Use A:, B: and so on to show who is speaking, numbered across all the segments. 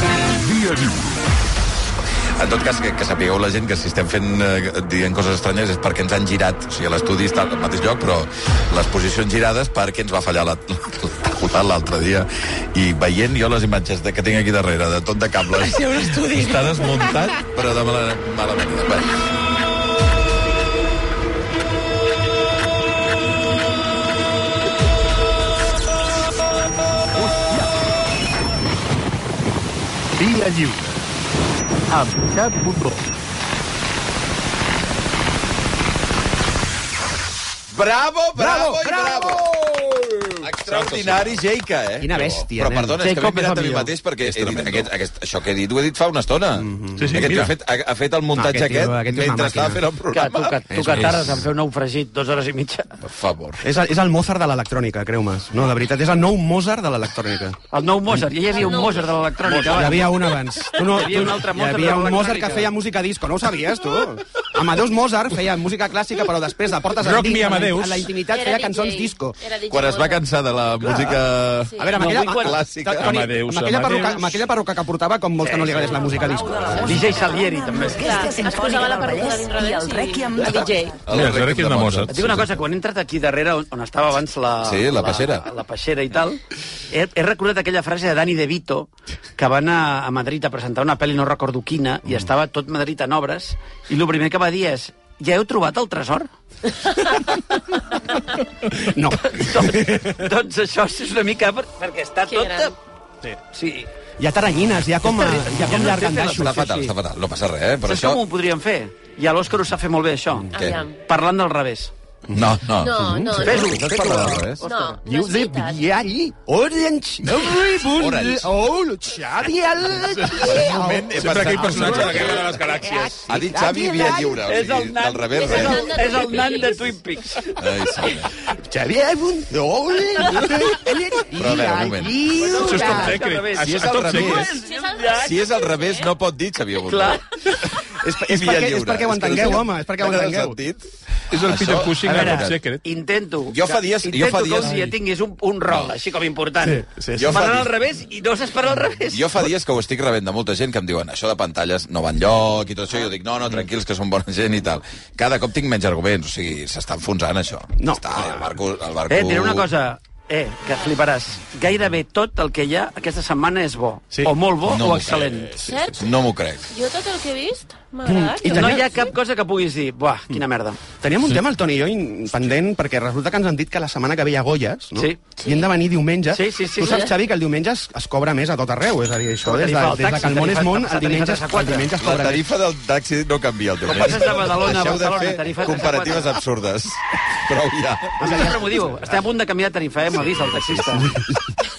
A: Dia Lliure.
B: En tot cas, que, que sapigueu la gent que si estem fent eh, dient coses estranyes és perquè ens han girat. O sigui, l'estudi està al mateix lloc, però les posicions girades perquè ens va fallar la, la taula l'altre dia. I veient jo les imatges de, que tinc aquí darrere, de tot de cables...
C: ser un estudi.
B: Està desmuntat, però de mala, mala manera. Bé,
A: Dia Lliure. Amb Cat Bundó.
B: Bravo, bravo,
D: Bravo,
B: i
D: bravo!
B: Extraordinari, Jeica, eh?
D: Quina bèstia,
B: Però
D: nen.
B: perdona, és que m'he
D: Jacob és
B: mirat
D: el
B: a mi
D: millor.
B: mateix perquè
E: És
B: he dit,
E: tremendo.
B: aquest, aquest, això que he dit ho he dit fa una estona.
E: Sí, sí,
B: aquest tio
E: mira.
B: ha fet, ha, ha fet el muntatge
D: Mhm. No,
B: aquest,
D: aquest tio- aquest tio és una
B: mentre estava
D: màquina.
B: fent el
F: Que, tu,
B: programa.
F: que, tu que tardes en fer un naufragit dues hores i mitja.
B: Per favor.
D: És el, és el Mozart de l'electrònica, creu-me. No, de veritat, és el nou Mozart de l'electrònica.
F: El nou Mozart, ja hi havia un Mozart de l'electrònica.
D: Hi
F: abans.
D: havia un abans. Tu no,
F: Hi havia
D: tu-
F: un altre
D: hi
F: Mozart
D: havia
F: de
D: un Mozart
F: l'electrònica.
D: que feia música disco, no ho sabies, tu? Amadeus Mozart feia música clàssica, però després de portes
E: Rock me
D: a, la,
E: Amadeus.
D: a la intimitat feia cançons disco.
G: Era DJ
B: Quan es va
G: Mozart.
B: cansar de la música...
G: Sí.
D: A veure, amb
F: No,
D: aquella,
F: vull quan-
B: Clàssica,
D: Toni, amb
E: Amadeus,
D: aquella, perruca,
E: Amadeus.
D: amb aquella perruca que portava, com molts que no li agradés la música disco.
F: DJ Salieri, també.
G: Clar, es posava la perruca dintre
H: i el
G: d'ells
H: Requiem
G: El DJ.
B: El
E: Mira, ara
B: Requiem
E: que és
B: de
E: una
B: Mozart.
E: Mozart.
F: Et dic una cosa, quan he entrat aquí darrere, on, on estava abans la...
B: Sí, la peixera.
F: La, la peixera i tal, he, he recordat aquella frase de Dani De Vito, que va anar a Madrid a presentar una pel·li, no recordo quina,
B: Mm.
F: i estava tot Madrid en obres, i el primer que va dir és ja heu trobat el tresor?
D: No.
F: doncs, doncs això és una mica... Per, perquè està
G: Que
F: tot...
G: gran.
F: Sí. sí.
D: Hi ha taranyines, hi ha com, hi ha
F: Ja
D: com
F: no
D: llargandaixos.
B: Està fatal, està fatal. No passa res, eh? Per
F: Saps
B: això... Mm.
F: com ho podríem fer? I a l'Òscar ho sap fer molt bé, això.
B: Què?
G: Aviam.
F: Parlant del revés.
B: No, no.
G: No, no, no.
F: Fes-ho,
B: No es
F: fes-ho.
B: parla de res.
G: No, no és
D: Josep
G: veritat.
D: Viari, Orange, every
B: Orange.
D: bunde, oh, Xavi, el...
B: moment he
E: Sempre aquell
B: pensat...
E: personatge de la Guerra de les Galàxies.
B: Ha dit Xavi Via Lliure. o sigui, Del revés, eh?
F: és,
B: res.
F: el, és el nan de Twin Peaks.
B: Ai, sí.
D: Xavi, bunde, oh,
B: Però a veure, un moment.
E: Això és
F: Clar,
E: top
F: és al
E: secret.
F: revés.
B: Si
E: Això
B: és
E: és
B: al
E: top
B: revés,
E: secret.
G: Si és al revés,
B: si és al revés, no pot dir Xavier Bundó.
F: Clar.
B: És,
D: és perquè- és perquè ho entengueu, home, és perquè ho entengueu.
E: És el Peter Cushing
F: A
E: de
F: veure,
E: Top Secret.
F: Intento.
B: Jo fa dies- jo
F: Intento
B: fa dies-
F: que un dia tinguis un, un rol, així com important.
E: Sí, sí, sí.
B: Jo fa
F: Parlant al
B: dies-
F: revés i no saps parar al revés.
B: Jo fa dies que ho estic rebent de molta gent que em diuen això de pantalles no va enlloc i tot això, i jo dic no, no, tranquils, que són bona gent i tal. Cada cop tinc menys arguments, o sigui, s'està enfonsant això.
D: No.
B: Està, el barco... El barco...
F: Eh, et diré una cosa. Eh, que fliparàs. Gairebé tot el que hi ha aquesta setmana és bo.
E: Sí.
F: O molt bo
B: No
F: o
B: m'ho
F: excel·lent.
B: crec.
G: Cert?
B: No m'ho crec.
G: Jo tot el que he vist m'ha agradat.
F: No hi ha cap cosa que puguis dir, buah, quina merda.
D: Teníem un tema, el Toni i jo, in- pendent, perquè resulta que ens han dit que la setmana que ve hi ha Goyes, no?
F: Sí.
D: I hem de venir diumenge.
F: Sí, sí, sí.
D: tu saps,
F: Sí.
D: Xavi, que el diumenge es, es cobra més a tot arreu, és a dir, això, des de,
F: Tarifa al
D: des de
F: taxi,
D: que el món és
F: tarifa-
D: món,
F: tarifa
D: el diumenge, es,
F: tres a
D: el
F: quatre.
D: diumenge es
B: La
D: cobra més.
B: tarifa del taxi no canvia el teu
F: Com passes de Badalona a
B: Deixeu de
F: Barcelona,
B: fer
F: tarifa de
B: comparatives
F: quatre.
B: absurdes. Prou ja.
F: Sempre m'ho diu. Estem a punt de canviar de tarifa, eh? M'ha vist el taxista.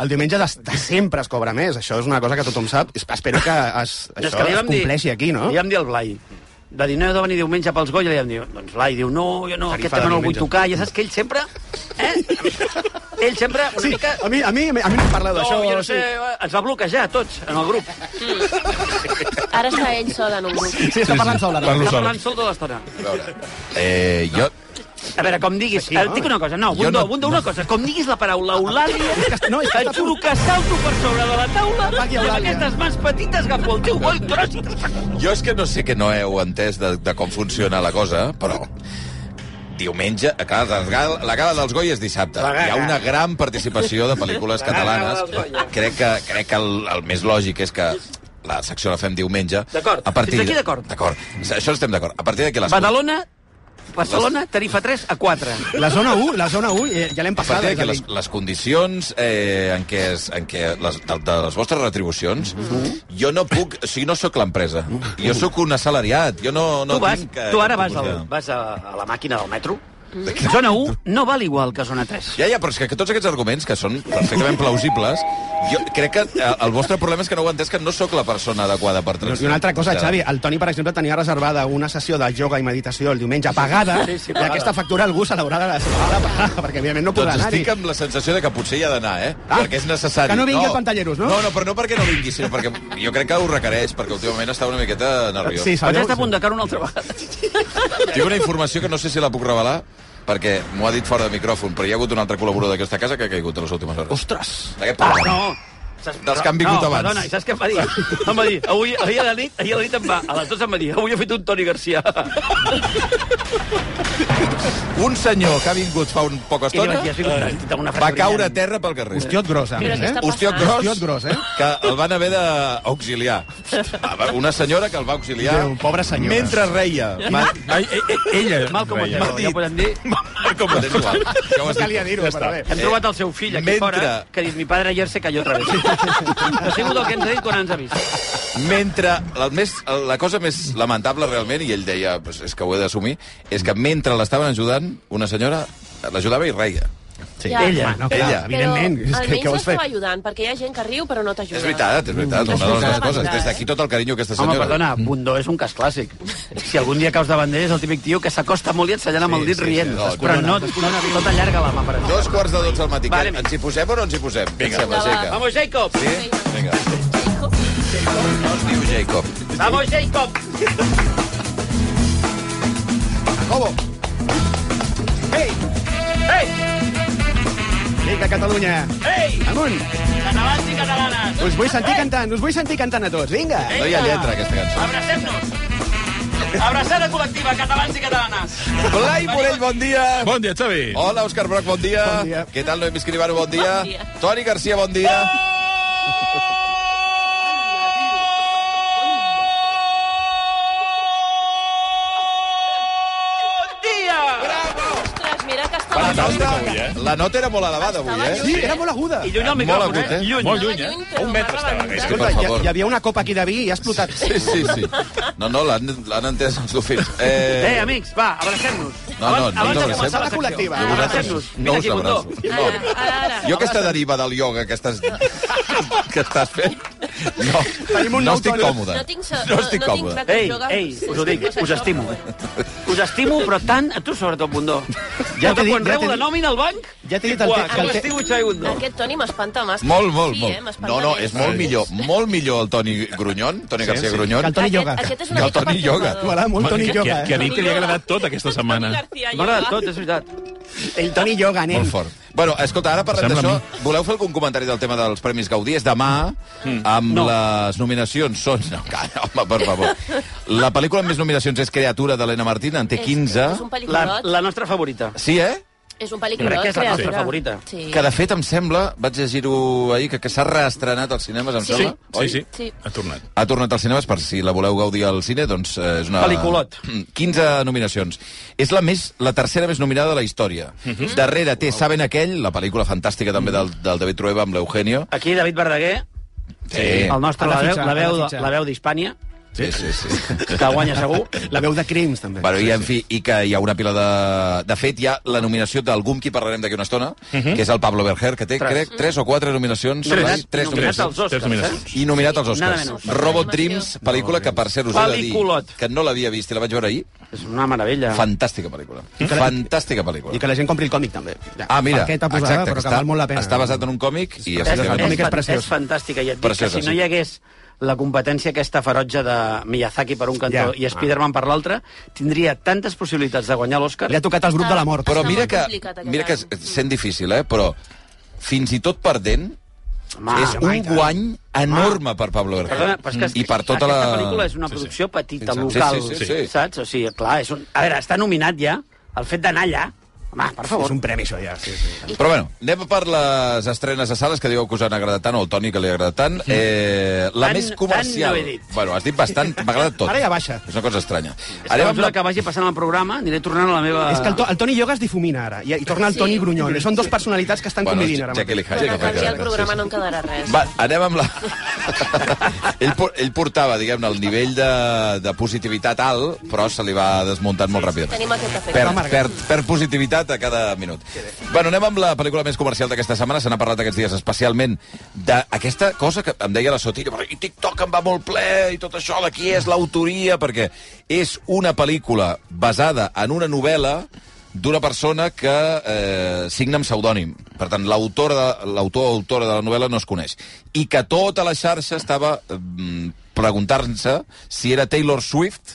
D: El diumenge de, de sempre es cobra més, això és una cosa que tothom sap. Es- Espero que es,
F: És
D: això
F: li
D: es
F: vam dir-
D: compleixi aquí, no?
F: Li vam dir al Blai. Va dir, no heu de venir diumenge pels Goya, li vam dir, doncs Blai diu, no, jo no,
D: Tarifa
F: aquest tema
D: de
F: no el vull
D: diumenge.
F: tocar, ja saps que ell sempre... Eh? ell sempre una
D: Sí,
F: mica...
D: a mi, a mi, a mi no em parla
F: No,
D: d'això.
F: jo no
D: sí.
F: sé, eh, ens va bloquejar a tots, en el grup.
G: Ara està ell sol en un grup.
D: Sí, està parlant sola.
E: Parlo
F: Està
E: sol.
F: parlant sol tota l'estona.
B: A veure, eh, jo...
F: A veure, com diguis... Aquí,
D: no?
F: Dic una cosa, no,
B: Jo
F: Bundó,
B: no-
F: Bundó, una cosa. Com diguis la paraula Eulàlia,
D: És que- no, és que
F: et
D: està-
F: juro que salto per sobre de la taula
D: Pagui
F: i amb
D: Eulàlia.
F: aquestes mans petites agafo el teu boi gros i te'l saco.
B: Jo és que no sé que no heu entès de, de com funciona la cosa, però diumenge, a cada- la gala, la gala dels Goy és dissabte.
F: La gala.
B: Hi ha una gran participació de pel·lícules
F: La gala
B: catalanes.
F: dels Goya.
B: Crec que, crec que el, el més lògic és que la secció la fem diumenge.
F: D'acord.
B: A partir
F: Fins aquí
B: de-
F: d'acord.
B: D'acord. Això estem d'acord. A partir d'aquí les...
F: Badalona, Barcelona, tarifa 3 a 4.
D: La zona 1, la zona 1, eh, ja l'hem
B: A
D: passada.
B: partir
D: és
B: d'aquí
D: a
B: les,
D: dir,
B: les condicions eh, en què, es, en què les, de, de les vostres retribucions,
D: Mm-hmm.
B: jo no puc... O sigui, no sóc l'empresa. Jo sóc un assalariat. Jo no, no
F: tu, vas,
B: tinc... eh,
F: tu ara vas,
B: capacitat.
F: al, vas a, a la màquina del metro. Zona 1 no val igual que zona 3.
B: Ja, ja, però és que tots aquests arguments, que són perfectament plausibles, jo crec que eh, el vostre problema és que no ho entès, que no sóc la persona adequada per
D: No,
B: tractar.
D: I una altra cosa, Xavi, el Toni, per exemple, tenia reservada una sessió de yoga i meditació el diumenge pagada,
F: Sí, sí,
D: i
F: pagada.
D: aquesta factura algú se l'haurà de se l'haurà de pagar, perquè evidentment no podrà
B: Doncs
D: anar-hi.
B: estic amb la sensació de que potser hi ha d'anar, eh?
D: Ah,
B: perquè és necessari.
D: que no vingui el Pantalleros, no?
B: No, no, però no perquè no vingui, sinó perquè jo crec que ho requereix, perquè últimament està una miqueta nerviós.
D: Sí,
F: Vaig
D: sabeu-
F: estar a punt de caure una altra vegada.
B: Tinc una informació que no sé si la puc revelar, perquè m'ho ha dit fora de micròfon, però hi ha hagut un altre col·laborador d'aquesta casa que ha caigut a les últimes hores.
D: Ostres!
B: D'aquest
F: Ah,
B: programa.
F: no! Saps?
B: Dels que han vingut
F: no,
B: abans.
F: Perdona, i saps què em va dir? Em va dir, avui, ahir a la nit, ahir a la nit em va, a les 12 em va dir, avui he fet un Toni Garcia.
B: Tota? Un senyor que ha vingut fa un poca
F: I li
B: estona
F: vaig dir, has vingut una- una frase
B: va caure a
F: brillant.
B: terra pel carrer.
E: Hostiot gros, a
G: Però
E: més,
G: què
E: eh?
G: està
B: Hostiot
G: passant?
B: gros.
E: Hostiot gros, eh?
B: Que el van haver d'auxiliar. Una senyora que el va auxiliar...
E: Déu, pobra senyora.
B: Mentre reia. Va,
H: Ai, eh, eh, ella...
F: Mal com
H: reia.
F: ja podem dir.
B: com ho tens igual. Ja ho has dit.
D: dir-ho, eh, però bé.
F: Hem trobat el seu fill aquí
B: mentre-
F: fora, que diu, mi padre ayer se cayó otra vez. ha sigut el que ens ha dit quan ens ha vist.
B: Mentre, la, més, la cosa més lamentable realment, i ell deia, pues, és que ho he d'assumir, és que mentre l'estaven ajudant, una senyora l'ajudava i reia.
E: Sí.
G: Ja.
F: Ella.
E: Home, no, clar,
B: Ella.
E: evidentment.
G: Però
E: és que,
G: almenys
E: què vols fer?
G: l'estava ajudant, perquè hi ha gent que riu però no t'ajuda.
B: És veritat, és veritat, una de les
G: veritat.
B: coses. Des d'aquí tot el carinyo a aquesta
F: Home,
B: senyora.
F: perdona, Bundó és un cas clàssic. Si algun dia caus davant d'ell és el típic tio que s'acosta molt i et senyala amb el dit
B: sí,
F: rient.
B: sí, sí.
F: Però no, no, no t'allarga la mà per això.
B: Dos quarts de dotze al matí.
F: Vale.
B: Vale. Ens hi posem o no ens hi posem? Vinga, sembla,
G: Endavant.
B: Jacob.
F: Vamos, Jacob!
B: Sí? Vinga. No es diu Jacob.
F: Vamos, Jacob!
D: Vinga, Catalunya!
F: Ei!
D: Amunt!
F: Catalans i catalanes!
D: Us vull sentir cantant, us vull sentir cantant a tots, vinga!
B: No hi ha lletra, aquesta cançó.
F: Abracem-nos! Abraçada col·lectiva, catalans i catalanes!
B: Blai Morell, bon dia.
H: Bon dia, Xavi.
B: Hola, Òscar Broc, bon dia.
D: Bon dia.
B: Què tal, Noemi Escribano, bon dia.
G: Bon dia.
B: Toni Garcia, bon dia.
F: Bon dia!
G: Ostres, mira que
B: La
G: estava...
B: nota,
H: avui, eh?
B: la nota era molt elevada avui,
G: Estava
B: eh?
D: Sí, era molt aguda.
F: I lluny al micròfon,
B: agut, eh?
F: Lluny.
H: Molt lluny, eh?
G: Estava lluny, però
H: Un metre
G: va
H: estava.
B: És que,
G: rebentar.
F: eh?
D: Escolta,
B: per
D: hi,
B: favor.
D: hi havia una copa aquí de vi i ha explotat.
B: Sí, sí, sí. No, no, l'han l'han entès els dofins.
F: Eh,
B: Eh,
F: amics, va, abracem-nos.
B: No, no, no ens
F: de
B: abracem.
F: començar
D: La col·lectiva.
B: jo vosaltres
F: Abracem-nos.
B: no
F: Vine
B: us
F: aquí, Bundó.
B: abraço.
G: Ara,
B: No.
G: ara, ara.
B: Jo aquesta deriva del ioga que estàs, que estàs fent, no,
D: Tenim un
B: no
D: nou
B: estic
D: tònic.
B: còmode.
G: No tinc... sa-
B: No estic
G: no tinc
B: còmode.
G: clar que
F: Ei,
G: jo-
F: ei, us ho dic,
G: Estic
F: us estimo. Us estimo, però tant a tu, sobretot, Bundó.
E: Ja
F: Ja
E: t'he
F: t'he
E: dit,
F: Quan
E: ja
F: rebo
E: t'he
F: la
E: dit.
F: nòmina al banc,
E: Ja t'he dit el te- que
F: com
E: el te-
F: estimo, Xavi Bundó.
G: Aquest Toni m'espanta massa.
B: Molt, molt,
G: sí, Eh?
B: molt.
G: m'espanta
B: No, no,
G: més.
B: és molt millor, molt millor el Toni Grunyon, Toni García
E: Que
B: Grunyon.
E: el Toni
G: Aquest-
E: Yoga.
G: Aquest és
B: I
G: una
B: el
G: mica
B: Toni Yoga.
G: perturbador.
E: M'agrada molt Toni
H: que,
E: Yoga,
H: que a
E: eh?
H: mi te li ha agradat tot aquesta setmana.
G: García,
F: M'agrada
G: Yoga.
F: tot, és veritat.
D: El Toni Yoga, nen.
B: Molt fort. Bueno, escolta, ara parlem
H: Sembla
B: d'això.
H: a
B: Voleu fer algun comentari del tema dels Premis Gaudí? És demà, amb
F: No.
B: les nominacions són... No, calla, home, per favor. La pel·lícula amb més nominacions és Creatura d'Helena Martín, en té
G: És- És
B: 15.
G: un
F: La,
G: pel·liculot.
F: la nostra favorita.
B: Sí, eh?
G: És un pel·lícula.
F: Crec que és la nostra
G: creatura.
F: favorita.
G: Sí.
B: Que, de fet, em sembla, vaig llegir-ho ahir, que, que s'ha reestrenat als cinemes, em
G: Sí.
B: sembla.
H: Sí, sí,
G: Sí.
H: sí. Ha tornat.
B: Ha tornat als cinemes, per si la voleu gaudir al cine, doncs eh, és una...
F: Peliculot.
B: 15 nominacions. És la més la tercera més nominada de la història.
F: Mhm.
B: Darrere té Saben aquell, la pel·lícula fantàstica també del, del David Trueba amb l'Eugenio.
F: Aquí, David Verdaguer,
B: Sí.
F: el nostre,
E: Eh. Ha de
F: la veu,
E: fitxar,
F: la
E: ha
F: veu,
E: de
F: de-
E: fitxar.
F: la veu d'Hispània,
B: Sí, sí, sí.
F: que guanya segur.
D: La veu de Crims, també.
B: Bueno, i, en fi, i que hi ha una pila de... De fet, hi ha la nominació d'algú amb qui parlarem d'aquí una estona, que és el Pablo Berger, que té,
F: Mhm. Tres.
B: crec, tres o quatre nominacions.
F: Nominat-
B: Tres, tres
F: nominat
B: nominacions.
F: als Oscars, eh?
H: Tres nominacions.
B: I nominat als
F: Nada
B: Oscars.
F: menos.
B: Robot Dreams, pel·lícula que, per cert, us he de
F: Peliculot.
B: dir que no l'havia vist i la vaig veure ahir.
F: És una meravella.
B: Fantàstica pel·lícula. Fantàstica
D: I
B: pel·lícula.
D: que la gent compri el còmic, també. Ja.
B: Ah, mira,
E: Paqueta
F: eh?
E: posada,
B: exacte,
E: però
B: que
E: que
B: està,
E: val molt la pena.
B: està basat en un còmic i
E: És-
F: és,
B: efectivament...
E: còmic és
F: fan-
E: preciós.
F: és fantàstica. I et dic
B: Preciosa,
F: que si no
B: sí.
F: hi hagués la competència aquesta ferotge de Miyazaki per un cantó
D: Ja.
F: i Spider-Man per l'altre, tindria tantes possibilitats de guanyar l'Oscar.
D: Li ha tocat el grup de la mort.
B: Però
G: Està
B: mira
G: molt
B: que,
G: complicat, aquest
B: mira que
G: any.
B: sent difícil, eh? Però fins i tot perdent,
F: Home,
B: és un guany enorme per Pablo
F: eh? Ah. Perdona,
B: Herrera.
F: però és que,
B: I per tota la...
F: aquesta pel·lícula és una producció petita,
B: Sí, sí.
F: local,
B: Sí, sí, sí, sí.
F: saps? O sigui, clar, és un... A veure, està nominat ja el fet d'anar allà. Home, per favor.
D: És un premi, això, ja. Sí, sí.
B: Però bueno, anem per les estrenes a sales que dieu que us han agradat tant, o el Toni que li ha agradat tant. Eh, la
F: Tant-
B: més comercial...
F: tant no he dit.
B: Bueno, has dit bastant, m'ha agradat tot.
D: Ara ja baixa.
B: És una cosa estranya.
F: És que a mesura que vagi passant el programa aniré tornant a la
E: Ah.
F: meva...
D: És que el, to, el Toni Yoga es difumina, ara. I, i torna el
G: Sí.
D: Toni Grunyón. Són dos personalitats que estan
B: Bueno,
D: convivint, ara.
B: Jekyll i
D: mateix.
B: Hyde.
G: Quan acabi el
B: Sí, sí.
G: programa no en quedarà res.
B: Va, anem amb la... ell, por- ell portava, diguem-ne, el nivell de, de positivitat alt, però se li va desmuntant molt ràpid.
G: Tenim aquest efecte.
B: Perd, perd, perd positivitat a cada minut. Bueno, anem amb la pel·lícula més comercial d'aquesta setmana. Se n'ha parlat aquests dies especialment d'aquesta cosa que em deia la Sotillo. però I TikTok em va molt ple i tot això, de qui és l'autoria? Perquè és una pel·lícula basada en una novel·la d'una persona que eh, signa amb pseudònim. Per tant, l'autor de- l'autor o autora de la novel·la no es coneix. I que tota la xarxa estava mm, preguntant-se si era Taylor Swift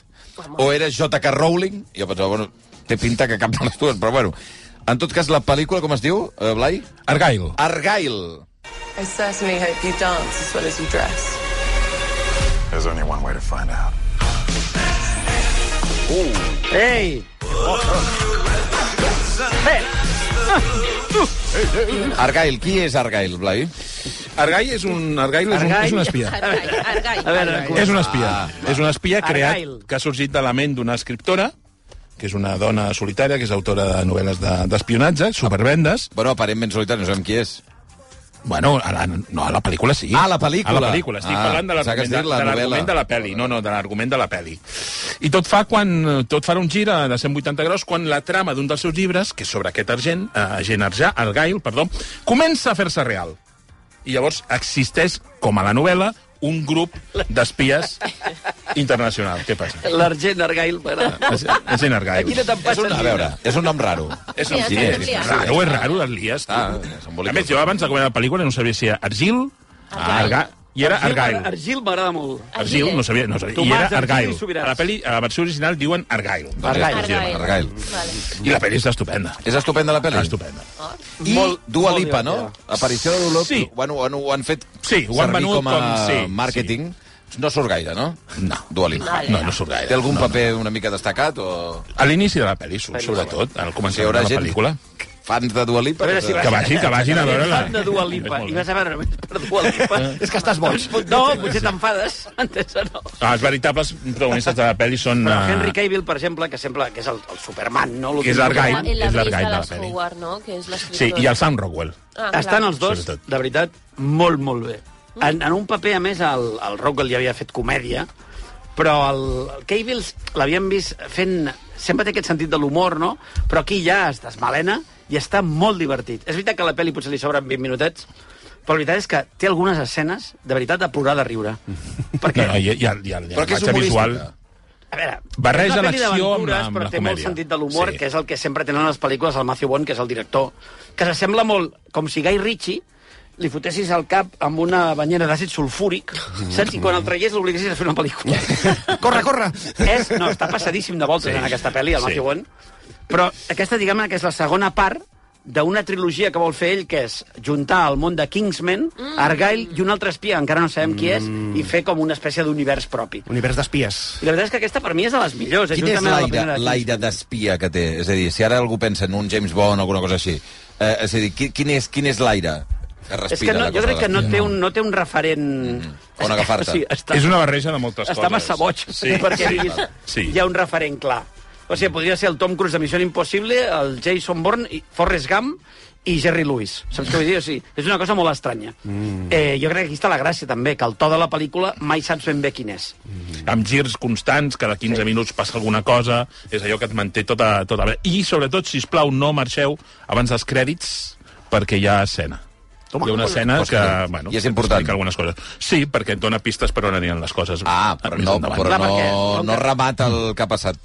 B: o era J.K. Rowling. I jo pensava, bueno, té pinta que cap de les dues, però bueno. En tot cas, la pel·lícula, com es diu, eh, Blai?
H: Argyle.
B: Argyle.
I: I certainly hope you dance as well as you dress.
J: There's only one way to find out.
F: Ei!
E: Argail, qui és Argail, Blai?
H: Argai és un, Argail és,
F: Argai.
H: un, és un espia.
G: Argai, Ah. Argai.
F: A veure,
H: És un espia. és un espia creat
F: Argail.
H: que ha sorgit de la ment d'una escriptora que és una dona solitària, que és autora de novel·les de- d'espionatge, de, supervendes.
E: Bueno, aparentment solitari, no sabem qui és.
H: Bueno, a la, no, a la pel·lícula sí.
E: Ah, a la pel·lícula.
H: A la pel·lícula, estic
E: Ah,
H: ah, parlant de
E: pensava que has
H: l'argument de,
E: dit la
H: de, l'argument
E: novel·la.
H: de la pel·li. No, no, de l'argument de la pel·li. I tot fa quan tot farà un gir a- de 180 graus quan la trama d'un dels seus llibres, que és sobre aquest argent, eh, agent arjà, el Gail, perdó, comença a fer-se real. I llavors existeix, com a la novel·la, un grup d'espies internacional. Què passa?
F: l'argent Argail. m'agrada.
H: És, és en Argyle.
F: Quina te'n
E: És
F: passa?
E: un, a veure, és un nom raro.
H: És
G: Sí,
H: sí,
G: sí,
H: és,
G: sí,
H: és
G: sí.
H: raro, és raro, les lies. tu.
E: Ah, s'embolica.
H: a més, jo abans de començar la pel·lícula no sabia si era Argil, Arga... i era Argyle.
F: Argil m'agrada molt.
H: Argil, no sabia, no sabia. I
F: Tomàs,
H: era
F: Argil i
H: Argyle.
F: Subirats.
H: A la, pel·li, a la versió original diuen Argyle.
E: Argail.
G: Argai.
E: Argail.
G: Vale.
H: I la pel·li és estupenda.
E: És estupenda la pel·li?
H: Estupenda.
E: I
F: Molt-
E: Dua
F: molt
E: Lipa, no?
F: divertida.
E: Aparició de Dolor.
H: Sí.
E: Bueno, ho han, ho han fet
H: Sí, ho han
E: servir
H: venut
E: com a
H: com- sí,
E: màrqueting. No surt gaire, no?
H: No.
E: Dua Lipa.
G: Vale.
H: No, no surt gaire.
E: Té algun
H: no,
E: paper una mica destacat o...
H: No. A l'inici de la pel·li, surt, sobretot, al
E: Hi
H: començament
E: haurà
H: de la
E: gent-
H: pel·lícula.
E: Fans de Dua Lipa?
F: A veure si
H: Que vagin, que vagin a veure-la.
F: Fan de Dua Lipa. I vas a veure només per Dua Lipa.
D: És que estàs boig.
F: No, potser t'enfades. Entesa, no.
H: Ah, els veritables protagonistes de la pel·li són...
F: Però
H: eh,
F: Henry Cavill, per exemple, que sembla que és el, el Superman, no?
H: Que és l'Argai.
G: En la
H: És
G: Blaze
H: l'Argai
G: de
H: de la
G: la
H: peli.
G: Howard, no? Que és
H: Sí,
G: l'escriptora.
H: i el Sam Rockwell.
G: Ah, clar.
F: Estan els dos,
H: Sobretot.
F: de veritat, molt, molt bé. En, en un paper, a més, el, el Rockwell ja havia fet comèdia, però el, el Cavill l'havíem vist fent... Sempre té aquest sentit de l'humor, no? Però aquí ja es desmalena i està molt divertit. És veritat que a la pel·li potser li sobren 20 minutets, però la veritat és que té algunes escenes, de veritat, de plorar de riure. Perquè,
H: No, no, i, i, el- i, el- i,
E: Però que és
H: llenguatge visual...
E: humorística.
F: a veure,
H: Barreja
F: és una pel·li
H: l'acció amb
F: d'aventures,
H: la- amb
F: però
H: la
F: té molt
H: comèdia.
F: sentit de l'humor,
H: Sí.
F: sí. que és el que sempre tenen les pel·lícules el Matthew Bond, que és el director, que s'assembla molt com si Guy Ritchie li fotessis al cap amb una banyera d'àcid sulfúric, saps? I quan el traiés l'obliguessis a fer una pel·lícula.
D: Corre, corre!
F: és, no, està passadíssim de voltes
H: Sí.
F: sí. en aquesta pel·li, el
H: Sí.
F: Matthew Bond, però aquesta, diguem-ne, que és la segona part d'una trilogia que vol fer ell, que és juntar el món de Kingsman, Argyle i un altre espia, encara no sabem qui és,
H: Mm.
F: i fer com una espècie d'univers propi.
D: Univers d'espies.
F: I la veritat és que aquesta per mi és de les millors. eh,
E: Quin és
F: juntament amb la
E: l'aire
F: primera de
E: l'aire d'espia que té? És a dir, si ara algú pensa en un James Bond o alguna cosa així, eh, és a dir, qui- quin és, quin és l'aire que respira?
F: És que no,
E: la
F: jo
E: cosa
F: crec que no
E: d'espia?
F: té un, no té un referent... Mm.
E: On agafar-te.
F: està,
H: És una barreja de moltes
F: està
H: coses.
F: massa boig, sí, perquè sí, diguis, sí.
H: sí.
F: hi ha un referent clar. O sigui, podria ser el Tom Cruise de Missió Impossible, el Jason Bourne, i Forrest Gump i Jerry Lewis. Saps què vull dir? O sigui, és una cosa molt estranya. Mm. Eh, jo crec que aquí està la gràcia, també, que el to de la pel·lícula mai saps ben bé quin és.
H: Mm-hmm. Amb girs constants, cada 15 sí. minuts passa alguna cosa, és allò que et manté tota... tota... la- I, sobretot, si plau no marxeu abans dels crèdits, perquè hi ha escena. Toma, hi ha una escena
E: Pues sí.
H: que, bueno...
E: I és important.
H: explica Algunes coses. Sí, perquè et dona pistes per on aniran les coses.
E: Ah, però
H: Més
E: no,
H: endavant.
E: però
F: Clar,
E: no,
F: perquè- com
E: no
F: que-
E: remata el que ha passat.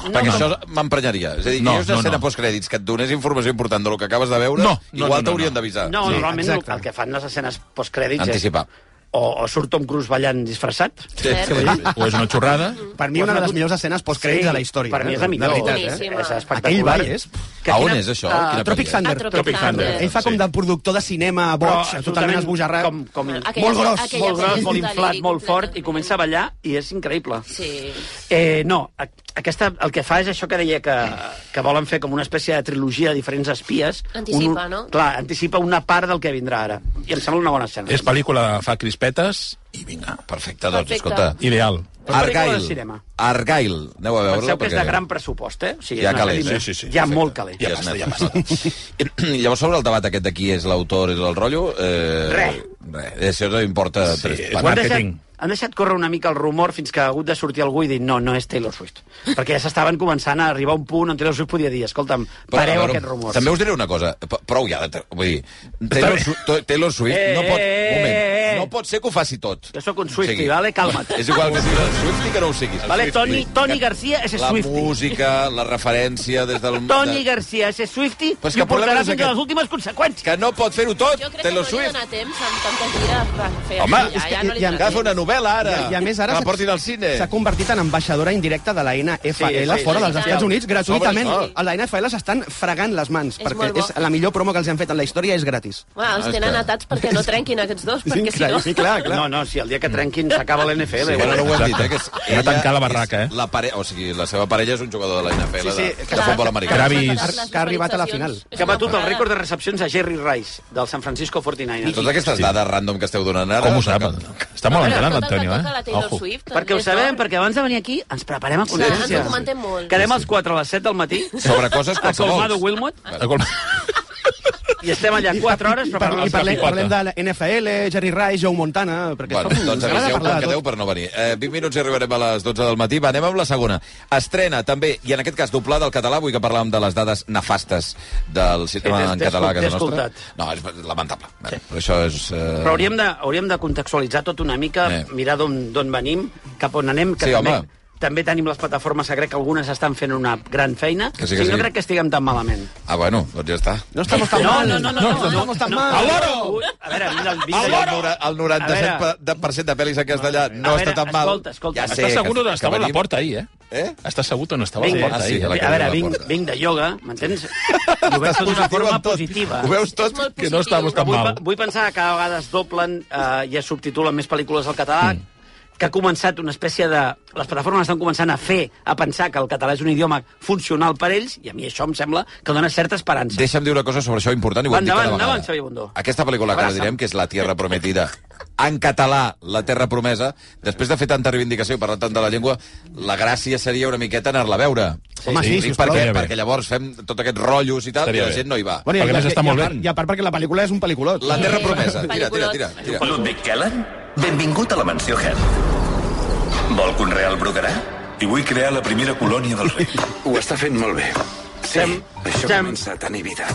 E: No, perquè
H: perquè
E: això m'emprenyaria. És a dir,
H: No,
E: no, hi ha una
H: no,
E: escena
H: no.
E: postcrèdits que et donés informació important del que acabes de veure,
H: No, no,
E: igual
H: no, no,
E: t'haurien
H: no.
E: d'avisar.
F: No, sí, normalment el,
D: exacte.
F: el que fan les escenes postcrèdits
E: Ah, Anticipar.
F: és... O, o surt Tom Cruise ballant disfressat.
E: Sí, sí, sí.
H: O és una xorrada...
G: Mm.
D: Per mi, una de les millors escenes postcrèdits de la història.
F: Per mi és la millor.
D: De veritat, eh?
G: Boníssima.
F: És espectacular.
D: Aquell ball és...
E: A on és això?
F: Ah,
E: Oh, Quina pel·li
D: Tropic
E: és?
D: Thunder.
G: Atropic
H: Tropic Thunder.
G: Thunder.
D: Ell fa com
H: Sí.
D: de productor de cinema boig, totalment esbojarrat.
F: Com, com
G: Bueno,
F: molt
G: aquella-
D: Molt gros,
G: aquella
F: molt
G: pel·li
F: gros,
G: és
F: molt
G: un
F: inflat,
G: deliri
F: molt fort, i
G: completament.
F: comença a ballar i és increïble.
G: Sí.
F: Eh, no, a- aquesta, el que fa és això que deia que, que volen fer com una espècie de trilogia de diferents espies.
G: Anticipa,
F: un,
G: no?
F: Clar, anticipa una part del que vindrà ara. I em sembla una bona escena.
H: És pel·lícula de fa crispetes i vinga,
E: Perfecte, doncs,
G: Perfecte.
E: escolta.
H: ideal.
F: Però pel·lícula de
E: Argyle.
F: cinema.
E: Argyle. Aneu a veure-la.
F: Penseu que és de gran pressupost, eh? O sigui,
E: Hi ha
F: és una
E: calés,
F: pel·lícula-
H: sí, sí, sí,
F: Hi ha
H: perfecte.
F: molt calés.
H: Hi ha
E: Ja
H: pasta,
E: n'hem
H: hi ha
E: passat. Llavors, sobre el debat aquest de qui és l'autor i el rotllo... Eh,
F: Res.
E: Res. Això no importa
H: Sí,
E: tres
H: és
E: pares.
F: Ho han
H: Marketing.
F: deixat, han deixat córrer una mica el rumor fins que ha hagut de sortir algú i dir no, no és Taylor Swift. Perquè ja s'estaven començant a arribar a un punt on Taylor Swift podia dir escolta'm,
E: Però,
F: pareu
E: a veure,
F: aquest rumor.
E: També us diré una cosa, p- prou ja, de tra- vull dir, Taylor, Su- to- Taylor Swift
F: Eh,
E: no pot...
F: eh,
E: un moment,
F: eh, eh.
E: no pot ser que ho faci tot.
F: Jo sóc un Swiftie, vale? Calma't.
E: És igual que siguis Swift i que no ho siguis.
F: Vale,
E: Swiftie.
F: Toni, Toni Garcia és
E: La
F: Swiftie.
E: música, la referència des del...
F: Toni
E: de-
F: Garcia és Swiftie
E: Però és
F: i
E: que
F: ho
E: el problema
F: portarà
E: és
F: fins a
E: aquest.
F: les últimes conseqüències.
E: Que no pot fer-ho tot,
G: Jo crec que no
E: Taylor
G: li dona
E: Swift.
G: temps amb tanta gira per fer
E: Home,
G: això,
E: és
G: ja, ja no li
E: Que ha de fer una
G: dona temps.
E: novel·la, ara.
D: I, I a més,
E: Que
D: ara
E: la portin al cine.
D: s'ha convertit en ambaixadora indirecta de la NFL
F: Sí, sí,
D: fora
G: sí,
D: dels
G: sí,
D: Estats
G: sí.
D: Units, gratuïtament.
E: Sobre això.
D: A la NFL s'estan fregant les mans,
G: És
D: perquè
G: molt bo.
D: és la millor promo que els han fet en la història és gratis.
G: Va, els tenen atats perquè no trenquin aquests dos, perquè si no...
D: increïble, clar, clar.
F: No, no, si el dia que trenquin s'acaba l'NFL.
E: Sí, bueno, no ho hem dit, eh? Que és,
H: Hem de tancar la barraca, eh?
E: és La pare... O sigui, la seva parella és un jugador de la NFL,
D: Sí, sí,
E: de,
D: que
E: de
D: s'ha-
E: futbol americà.
H: Gravi. Gravis.
G: Les
D: Que ha arribat a la final.
G: visualitzacions.
F: Que ha batut el rècord de recepcions a Jerry Rice, del San Francisco 49ers.
E: Totes aquestes dades random que esteu donant ara...
H: Com ho sap? Està molt
G: Bueno,
H: entrenat,
G: tot el que
H: l'Antonio,
G: toca la
H: eh?
G: Taylor
H: Ojo.
G: Swift,
F: Perquè ho
G: Andrés
F: sabem,
G: Dor.
F: perquè abans de venir aquí ens preparem a
G: ens
E: Ah,
F: consciència.
G: documentem molt.
F: Quedem als 4 a les 7 del matí.
E: Sobre coses
F: A Colmado
E: qualsevols.
F: Wilmot.
H: De col-
F: I estem allà 4 hores
D: I, parlem,
F: preparant
D: i
F: el
D: parlem,
H: capicota.
D: parlem de la NFL, Jerry Rice, Joe Montana... Perquè
E: Bueno,
D: som-
E: doncs
D: ens agrada
E: aviseu
D: parlar
E: com
D: de tot.
E: quedeu per no venir. Eh, 20 minuts i arribarem a les 12 del matí. Va, anem amb la segona. Estrena també, i en aquest cas doblada al català, avui que parlàvem de les dades nefastes del sistema
F: Sí, t'he-
E: en
F: t'he
E: català a casa
F: escoltat,
E: nostra.
F: t'he
E: No, és lamentable. Sí. Però això és... Eh...
F: Però hauríem de, hauríem de contextualitzar tot una mica,
E: Eh.
F: mirar d'on d'on venim, cap on anem, que
E: Sí,
F: també,
E: home.
F: també tenim les plataformes, que crec que algunes estan fent una gran feina.
E: Que sí, que
F: O sigui,
E: sí.
F: No crec que estiguem tan malament.
E: Ah, bueno, doncs ja està.
D: No estamos tan
F: No,
D: mal.
F: no, no, no, no,
D: estamos
F: no,
D: tan
F: no.
D: mal.
H: Al loro!
F: Ui, A veure, mira, el
E: El,
F: vídeo...
E: nora- el
F: A veure.
E: 97% de, per cent de pel·lis en castellà no
F: A veure,
E: està tan mal.
F: escolta, escolta.
E: Ja sé
H: Estàs segur
E: que-
H: on
E: que
H: estava la
E: venim.
H: porta ahir, eh?
E: Eh?
H: Estàs segur on estava
F: Vinc,
H: la
E: Ah,
H: porta
E: sí,
H: ahir?
E: a la
F: a veure,
E: cadira de la
F: vinc,
E: porta.
F: vinc de ioga, m'entens? I ho veig tot d'una
E: Positiu
F: forma
E: en tot.
F: positiva.
E: Ho veus
G: És
E: tot?
G: molt
H: Que no estava
G: positiu.
H: tan
F: Vull,
H: mal.
F: pe- vull pensar que a vegades doblen eh, i es subtitulen més pel·lícules al català, que ha començat una espècie de... Les plataformes estan començant a fer, a pensar que el català és un idioma funcional per ells, i a mi això em sembla que dona certa esperança.
E: Deixa'm dir una cosa sobre això important i ho hem dit
F: Endavant,
E: cada vegada.
F: endavant, Xavier Bundó.
E: Aquesta pel·lícula que ara
F: Abraça'm.
E: direm, que és La Tierra Prometida, en català, La Terra Promesa, després de fer tanta reivindicació i parlar tant de la llengua, la gràcia seria una miqueta anar-la a veure.
D: Home, sí,
E: Dic
D: sí, sisplau.
E: perquè,
H: Estaria bé.
E: perquè llavors fem tot aquest rotllos i tal,
H: Estaria
E: i la
H: bé.
E: gent no hi va.
D: Bueno, i,
H: Perquè a més
D: i-
H: està
D: i
H: molt
D: a part-
H: bé.
D: I a part perquè la pel·lícula és un pel·liculot.
E: La Terra
G: Eh,
E: Promesa. Tira, tira, tira. tira.
B: Ludwig Kellen, benvingut a la mansió Hell. Vol conrear el brocarà?
J: I vull crear la primera colònia del rei.
B: Ho està fent molt bé. Sí, això
F: Sam.
B: comença a tenir vida.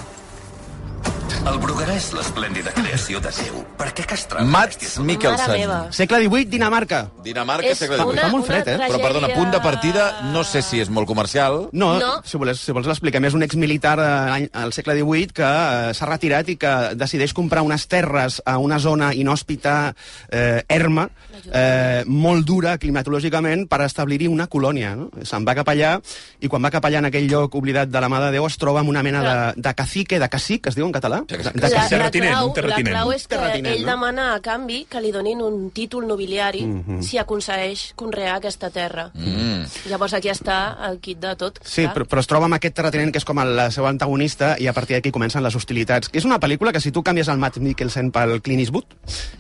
B: El brocarà és l'esplèndida creació de Déu. Per què castrar?
E: Mats
G: Mare
E: Mikkelsen.
G: meva.
D: Segle XVIII, Dinamarca.
E: Dinamarca,
G: És
E: segle
G: una,
D: Fa
E: XVIII.
D: molt fred,
G: una
D: eh?
E: Però, perdona, punt de partida, no sé si és molt comercial.
D: No,
G: No.
D: no. si vols, si vols l'expliquem. És un exmilitar eh, any- al segle XVIII que eh, s'ha retirat i que decideix comprar unes terres a una zona inhòspita, eh, erma, eh, molt dura climatològicament, per establir-hi una colònia. No? Se'n va cap allà i quan va cap allà en aquell lloc oblidat de la mà de Déu es troba amb una mena de, de cacique, de cacic, que es diu en català?
E: Sí,
D: De,
E: cacique.
D: de
G: La,
D: cacic.
G: la,
H: terratinent,
G: clau,
H: un terratinent.
G: la clau és que
D: Terratinent,
G: ell
D: no?
G: demana a canvi que li donin un títol nobiliari si aconsegueix conrear aquesta terra. Mm. Llavors aquí està el kit de tot.
D: Sí,
G: clar.
D: però, però es troba amb aquest terratinent que és com el, el seu antagonista i a partir d'aquí comencen les hostilitats. És una pel·lícula que si tu canvies el Matt Mikkelsen pel Clint Eastwood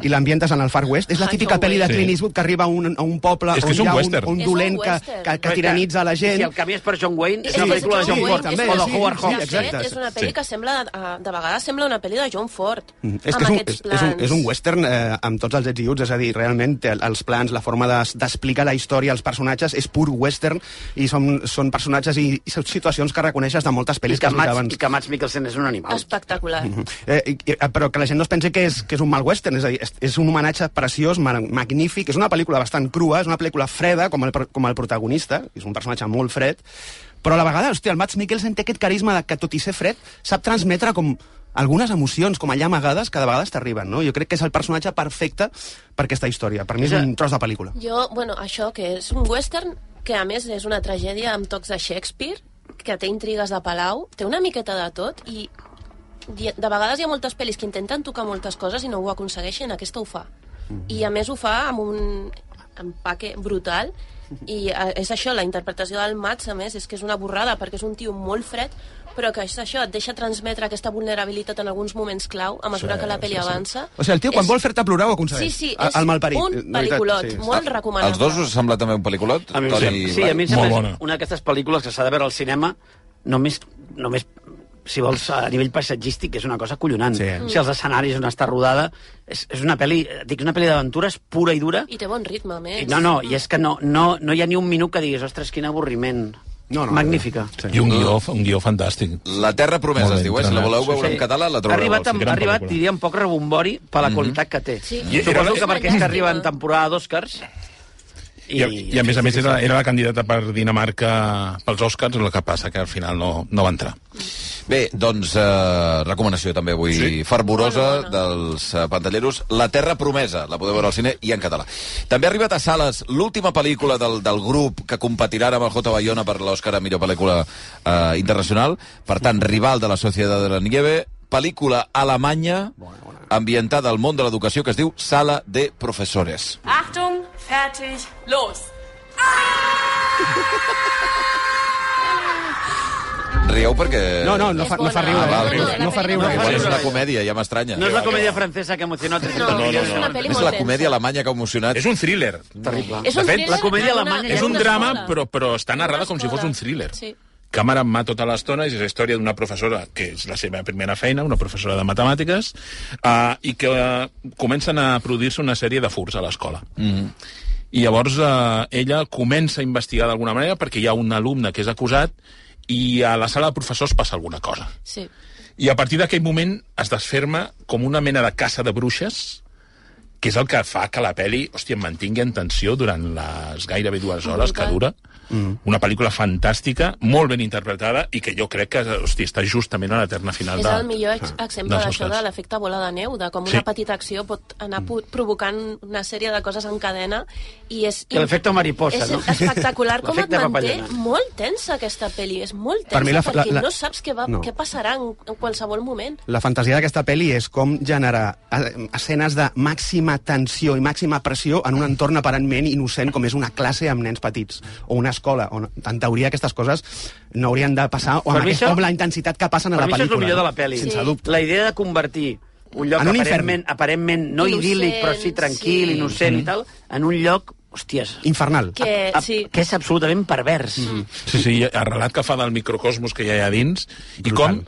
D: i l'ambientes en el Far West, és la
G: Ah,
D: típica
G: John
D: pel·li de
H: Wayne.
D: Clint Eastwood que arriba a un, a un poble
H: És que
D: on
H: és un
D: hi ha un,
H: western.
D: un
G: És un
D: dolent que,
G: western.
D: que, que tiranitza la gent.
F: Si el canvies per John Wayne, és
G: que
F: una pel·lícula de
D: John
F: John
D: Wayne,
F: Ford,
D: també,
F: o de
D: sí,
F: Howard
D: sí,
G: de
F: Hawks.
D: exacte.
G: fet, és una pel·li
H: Sí.
G: que sembla, eh, de vegades sembla una pel·li de John Ford.
D: Mm, És
G: amb
D: que és un, és,
G: aquests
D: és, un,
G: plans.
D: és un western eh, amb tots els ets i uts, és a dir, realment té el- els plans, la forma de- d'explicar la història, els personatges, és pur western i són, són personatges i, i situacions que reconeixes de moltes
F: I
D: pel·lis
F: que,
D: que has vist
F: Mats,
D: abans.
F: I que Mats Mikkelsen és un animal.
G: Espectacular.
D: Eh, i- i- eh, però que la gent no es pensi que és, que és un mal western, és a dir, és, és un homenatge preciós, ma magnífic, és una pel·lícula bastant crua, és una pel·lícula freda, com el, pro- com el protagonista, és un personatge molt fred, però a la vegada, hòstia, el Mads Mikkelsen té aquest carisma de que, tot i ser fred, sap transmetre com algunes emocions, com allà amagades, que de vegades t'arriben, no? Jo crec que és el personatge perfecte per aquesta història. Per mi és
F: És a-
D: un tros de pel·lícula.
G: Jo, bueno, això que és un western que a més és una tragèdia amb tocs de Shakespeare, que té intrigues de Palau, té una miqueta de tot i i de vegades hi ha moltes pel·lis que intenten tocar moltes coses i no ho aconsegueixen, aquesta ho fa.
D: Mm-hmm.
G: I a més ho fa amb un empaque brutal i eh, és això, la interpretació del Mats a més és que és una borrada perquè és un tio molt fred però que és això, et deixa transmetre aquesta vulnerabilitat en alguns moments clau a mesura sí, que la pel·li sí, avança.
D: O sigui, el tio, quan
G: És-
D: vol fer-te plorar, ho aconsegueix.
G: Sí, sí,
D: A-
G: és
D: al malparit, de
G: un
D: veritat,
G: pel·liculot,
D: sí.
G: molt recomanable.
E: Els dos us sembla també un pel·liculot?
F: A mi,
E: Toni
F: sí, sí,
E: Ivan?
F: a mi em
H: Molt
F: sembla
H: bona.
F: bona. una d'aquestes pel·lícules que s'ha de veure al cinema només, només si vols, a nivell paisatgístic, és una cosa collonant.
D: Sí.
F: Sí. O sigui, els escenaris on està rodada... És, és una pel·li, eh, dic, és una pel·li d'aventures pura i dura.
G: I té bon ritme, a més.
F: I, no, no, i és que no, no, no hi ha ni un minut que diguis, ostres, quin avorriment.
D: No, no,
F: Magnífica.
D: Sí.
H: I un guió, un guió fantàstic.
E: La Terra Promesa
H: Molt
E: es diu, eh? Si la
H: entrenat.
E: voleu veure
F: Sí.
E: en català, la
F: Ha
E: trobareu.
F: arribat, amb,
H: gran
F: ha arribat
H: pel·lícula.
F: diria, amb poc rebombori per la qualitat que té.
G: Sí.
H: Mhm. I-
F: Suposo
H: era-
F: que perquè és que
G: Llàstima.
F: arriba en temporada d'Oscars...
H: I, I a més a més era, era la candidata per Dinamarca pels Oscars, el que passa que al final no, no va entrar.
E: Bé, doncs, eh, recomanació també avui sí. fervorosa
G: Molt bona.
E: dels eh, pantalleros. La Terra Promesa, la podeu veure al cine i en català. També ha arribat a sales l'última pel·lícula del, del grup que competirà ara amb el J. Bayona per l'Òscar a millor pel·lícula eh, internacional. Per tant, rival de la Societat de la Nieve, pel·lícula alemanya ambientada al món de l'educació que es diu Sala de Professores.
K: Achtung, fertig, los.
E: Rieu perquè...
D: No, no, no fa, no fa riure.
E: Ah, val,
D: eh?
E: riure.
D: no fa riure.
E: No,
D: No fa
E: igual és
D: riure.
E: una comèdia, ja m'estranya.
F: No és la comèdia francesa que emocionó.
G: No, no, no, és una pel·li
E: És
G: molt
E: la comèdia alemanya que ha emocionat.
H: És un thriller.
F: Terrible.
G: És un
H: fet,
G: thriller
F: la comèdia
G: en una-
F: alemanya-
G: en
H: És un
G: una
H: drama,
G: escola.
H: però, però està
G: En una
H: narrada com si
G: escola.
H: fos un thriller.
G: Sí.
H: Càmera en mà tota l'estona, és la història d'una professora, que és la seva primera feina, una professora de matemàtiques, uh, i que uh, comencen a produir-se una sèrie de furs a l'escola. Mm -hmm. I llavors uh, ella comença a investigar d'alguna manera perquè hi ha un alumne que és acusat i a la sala de professors passa alguna cosa.
G: Sí.
H: I a partir d'aquell moment es desferma com una mena de caça de bruixes que és el que fa que la pel·li, hòstia, em mantingui en tensió durant les gairebé dues
G: Ah,
H: hores que dura. Mm. Una pel·lícula fantàstica, molt ben interpretada, i que jo crec que, hòstia, està justament a la terna final
G: És
H: de...
G: el millor ex exemple
H: dels
G: d'això
H: Oscars.
G: de l'efecte bola de neu, de com
H: Sí.
G: una petita acció pot anar pu- provocant una sèrie de coses en cadena i és...
F: Que l'efecte mariposa,
G: és
F: no?
G: espectacular com et
F: L'efecte
G: manté
F: papallona.
G: molt tensa aquesta pel·li, és molt tensa
D: Per mi la- la-
G: perquè
D: la-
G: no saps què, va,
D: No.
G: què passarà en, en qualsevol moment.
D: La fantasia d'aquesta pel·li és com generar eh, escenes de màxima tensió i màxima pressió en un entorn aparentment innocent com és una classe amb nens petits o una escola, on en teoria aquestes coses no haurien de passar o
F: Per
D: amb,
F: mi
D: aquest,
F: això-
D: o amb la intensitat que passen a
F: Per
D: la
F: mi això és
D: pel·lícula.
F: el millor de la
D: no?
F: pel·li.
D: Sense
G: Sí.
D: dubte.
F: La idea de convertir un lloc
D: En un infern.
F: aparentment, aparentment no
G: Innocent,
F: idíl·lic, però sí tranquil,
G: sí.
F: innocent i tal, en un lloc, hòsties,
D: Infernal.
G: Que,
F: a-
G: Eh, sí.
F: que és absolutament pervers. Mm.
H: Sí, sí, el relat que fa del microcosmos que hi ha allà dins, i com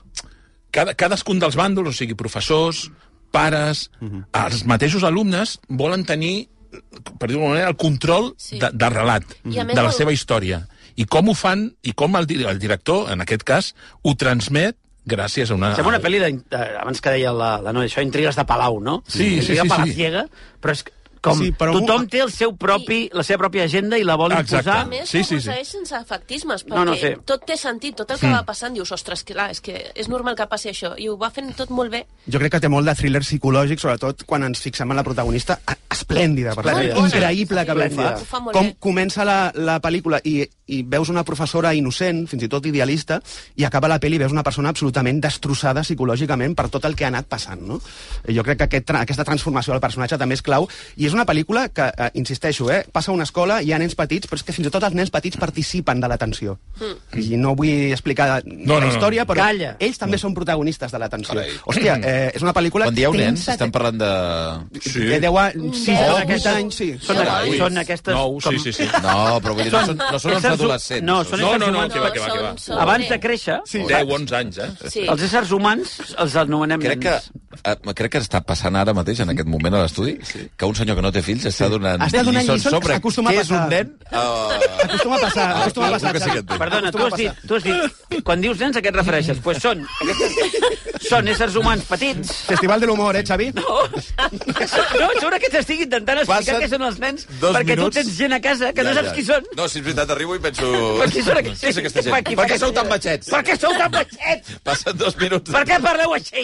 H: cada, cadascun dels bàndols, o sigui, professors, pares, els mateixos alumnes volen tenir, per dir-ho d'alguna manera, el control
G: Sí.
H: sí. de, del relat,
G: I a més
H: de la
G: el-
H: seva història. I com ho fan, i com el, di- el director, en aquest cas, ho transmet gràcies a una...
F: Sembla una pel·li, de, de, abans que deia la, la noia, això, intrigues de Palau, no?
H: Sí, sí,
F: Intriga
H: sí, sí.
F: palaciega, però és com
D: Sí,
F: sí,
D: però
F: però
D: un-
F: tothom té el seu propi, la seva pròpia agenda i la vol
H: Exacte.
F: imposar.
G: A més,
H: Sí,
G: sí,
H: sí,
G: sí,
H: sí.
G: sense efectismes, perquè
F: No, no sé.
G: tot té sentit, tot el que va passant, dius, ostres, clar, és que és normal que passi això, i ho va fent tot molt bé.
D: Jo crec que té molt de thriller psicològic, sobretot quan ens fixem en la protagonista, a- esplèndida, per tant,
F: Esplèndida.
D: increïble que bé ho fa.
F: Esplèndida.
G: Ho fa molt
D: Com
G: bé.
D: comença la, la pel·lícula i, i veus una professora innocent, fins i tot idealista, i acaba la pel·li i veus una persona absolutament destrossada psicològicament per tot el que ha anat passant, no? I Jo crec que aquest, tra- aquesta transformació del personatge també és clau, i és una pel·lícula que, eh, insisteixo, eh, passa a una escola, hi ha nens petits, però és que fins i tot els nens petits participen de l'atenció.
G: Mm.
D: I no vull explicar
H: no,
D: la
H: no.
D: història, però
F: Calla.
D: ells també són protagonistes de l'atenció.
E: Mm. Carai.
D: Hòstia, eh, és una pel·lícula
E: Quan dieu nens,
D: tensa,
E: estan parlant de...
D: Sí. De 10 anys, 6
G: Deu,
D: o 8
G: deu.
D: anys, sí.
F: Són,
G: Deu
F: aqu-
G: anys.
F: són aquestes...
H: No, sí, sí, sí.
E: No, però vull dir, no són, no són els
F: Éssers hu-
E: adolescents.
F: No, són éssers
H: No, no, no,
F: humans.
H: que va, que va, que va.
G: Són- són-
F: Abans
G: sí.
F: de créixer,
H: 10, 11 anys, eh?
G: Sí.
F: els éssers humans els anomenem
E: Crec que,
F: nens.
E: eh, crec que està passant ara mateix, en aquest moment a l'estudi, que un senyor que no té fills està donant,
D: Està donant lliçons,
E: sobre
D: acostuma a
E: què és
D: passar.
E: un nen. Uh,
D: Acostuma a passar,
E: Ah,
D: acostuma a
E: algú
D: passar.
E: que sí que
D: Xavi.
E: et té.
F: Perdona, tu
D: Acostuma
F: has,
D: a
F: dit,
D: passar.
F: tu has dit... Quan dius nens, a què et refereixes? Doncs pues són, aquestes, són éssers humans petits.
D: Festival de l'humor, eh, Xavi?
F: No, no sobre que t'estic intentant explicar
E: Passen
F: què són els nens,
E: dos
F: perquè
E: minuts.
F: tu tens gent a casa que ja, no saps qui són.
E: No, si és veritat, arribo i penso...
F: Però qui són aquests?
E: Qui és aquesta
F: Per
E: gent?
F: aquí,
E: Per
F: per
E: què
F: aquí.
E: sou tan batxets?
F: Per què sou tan baixets?
E: Passen dos minuts...
F: Per què parleu així?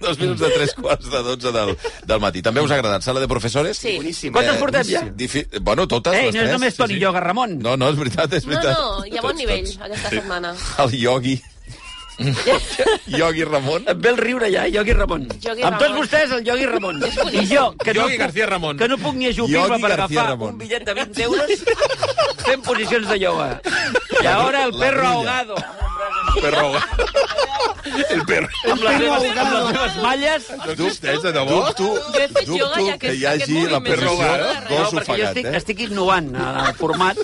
E: Dos minuts de tres quarts de dotze del, del matí. També us ha agradat Sala de Professores?
G: Sí.
D: Boníssim.
F: Quantes portem ja?
E: Difi... Bueno, totes
F: Ei,
E: les
F: no és
E: tres.
F: només Toni Lloga, Ramon.
E: No, no, és veritat, és
G: No,
E: veritat.
G: no, hi ha bon nivell aquesta setmana.
E: El Yogi. Yogi Ramon.
F: Em ve el riure ja, Iogui Ramon.
G: Iogui
F: Amb tots
G: Ramon.
F: vostès, el Iogui Ramon. I jo, que no,
H: Iogui García Ramon.
F: que no puc ni ajupir-me
E: Iogui
F: per
E: García
F: agafar
E: Ramon.
F: un bitllet de 20 euros fent posicions de ioga. I ara el
E: la
F: perro
E: grilla.
F: ahogado.
H: Perro. El perro.
F: Amb les, seves, amb les seves malles.
H: Existeix, de debò?
E: Dubto,
G: Jo he fet
E: dubto
G: ioga i aquest-
E: que hi
G: aquest
E: hagi la
G: moviment.
E: posició
H: Perro,
F: No,
E: gos
F: perquè jo
E: ofegat,
F: estic,
E: eh?
F: estic innovant eh, el format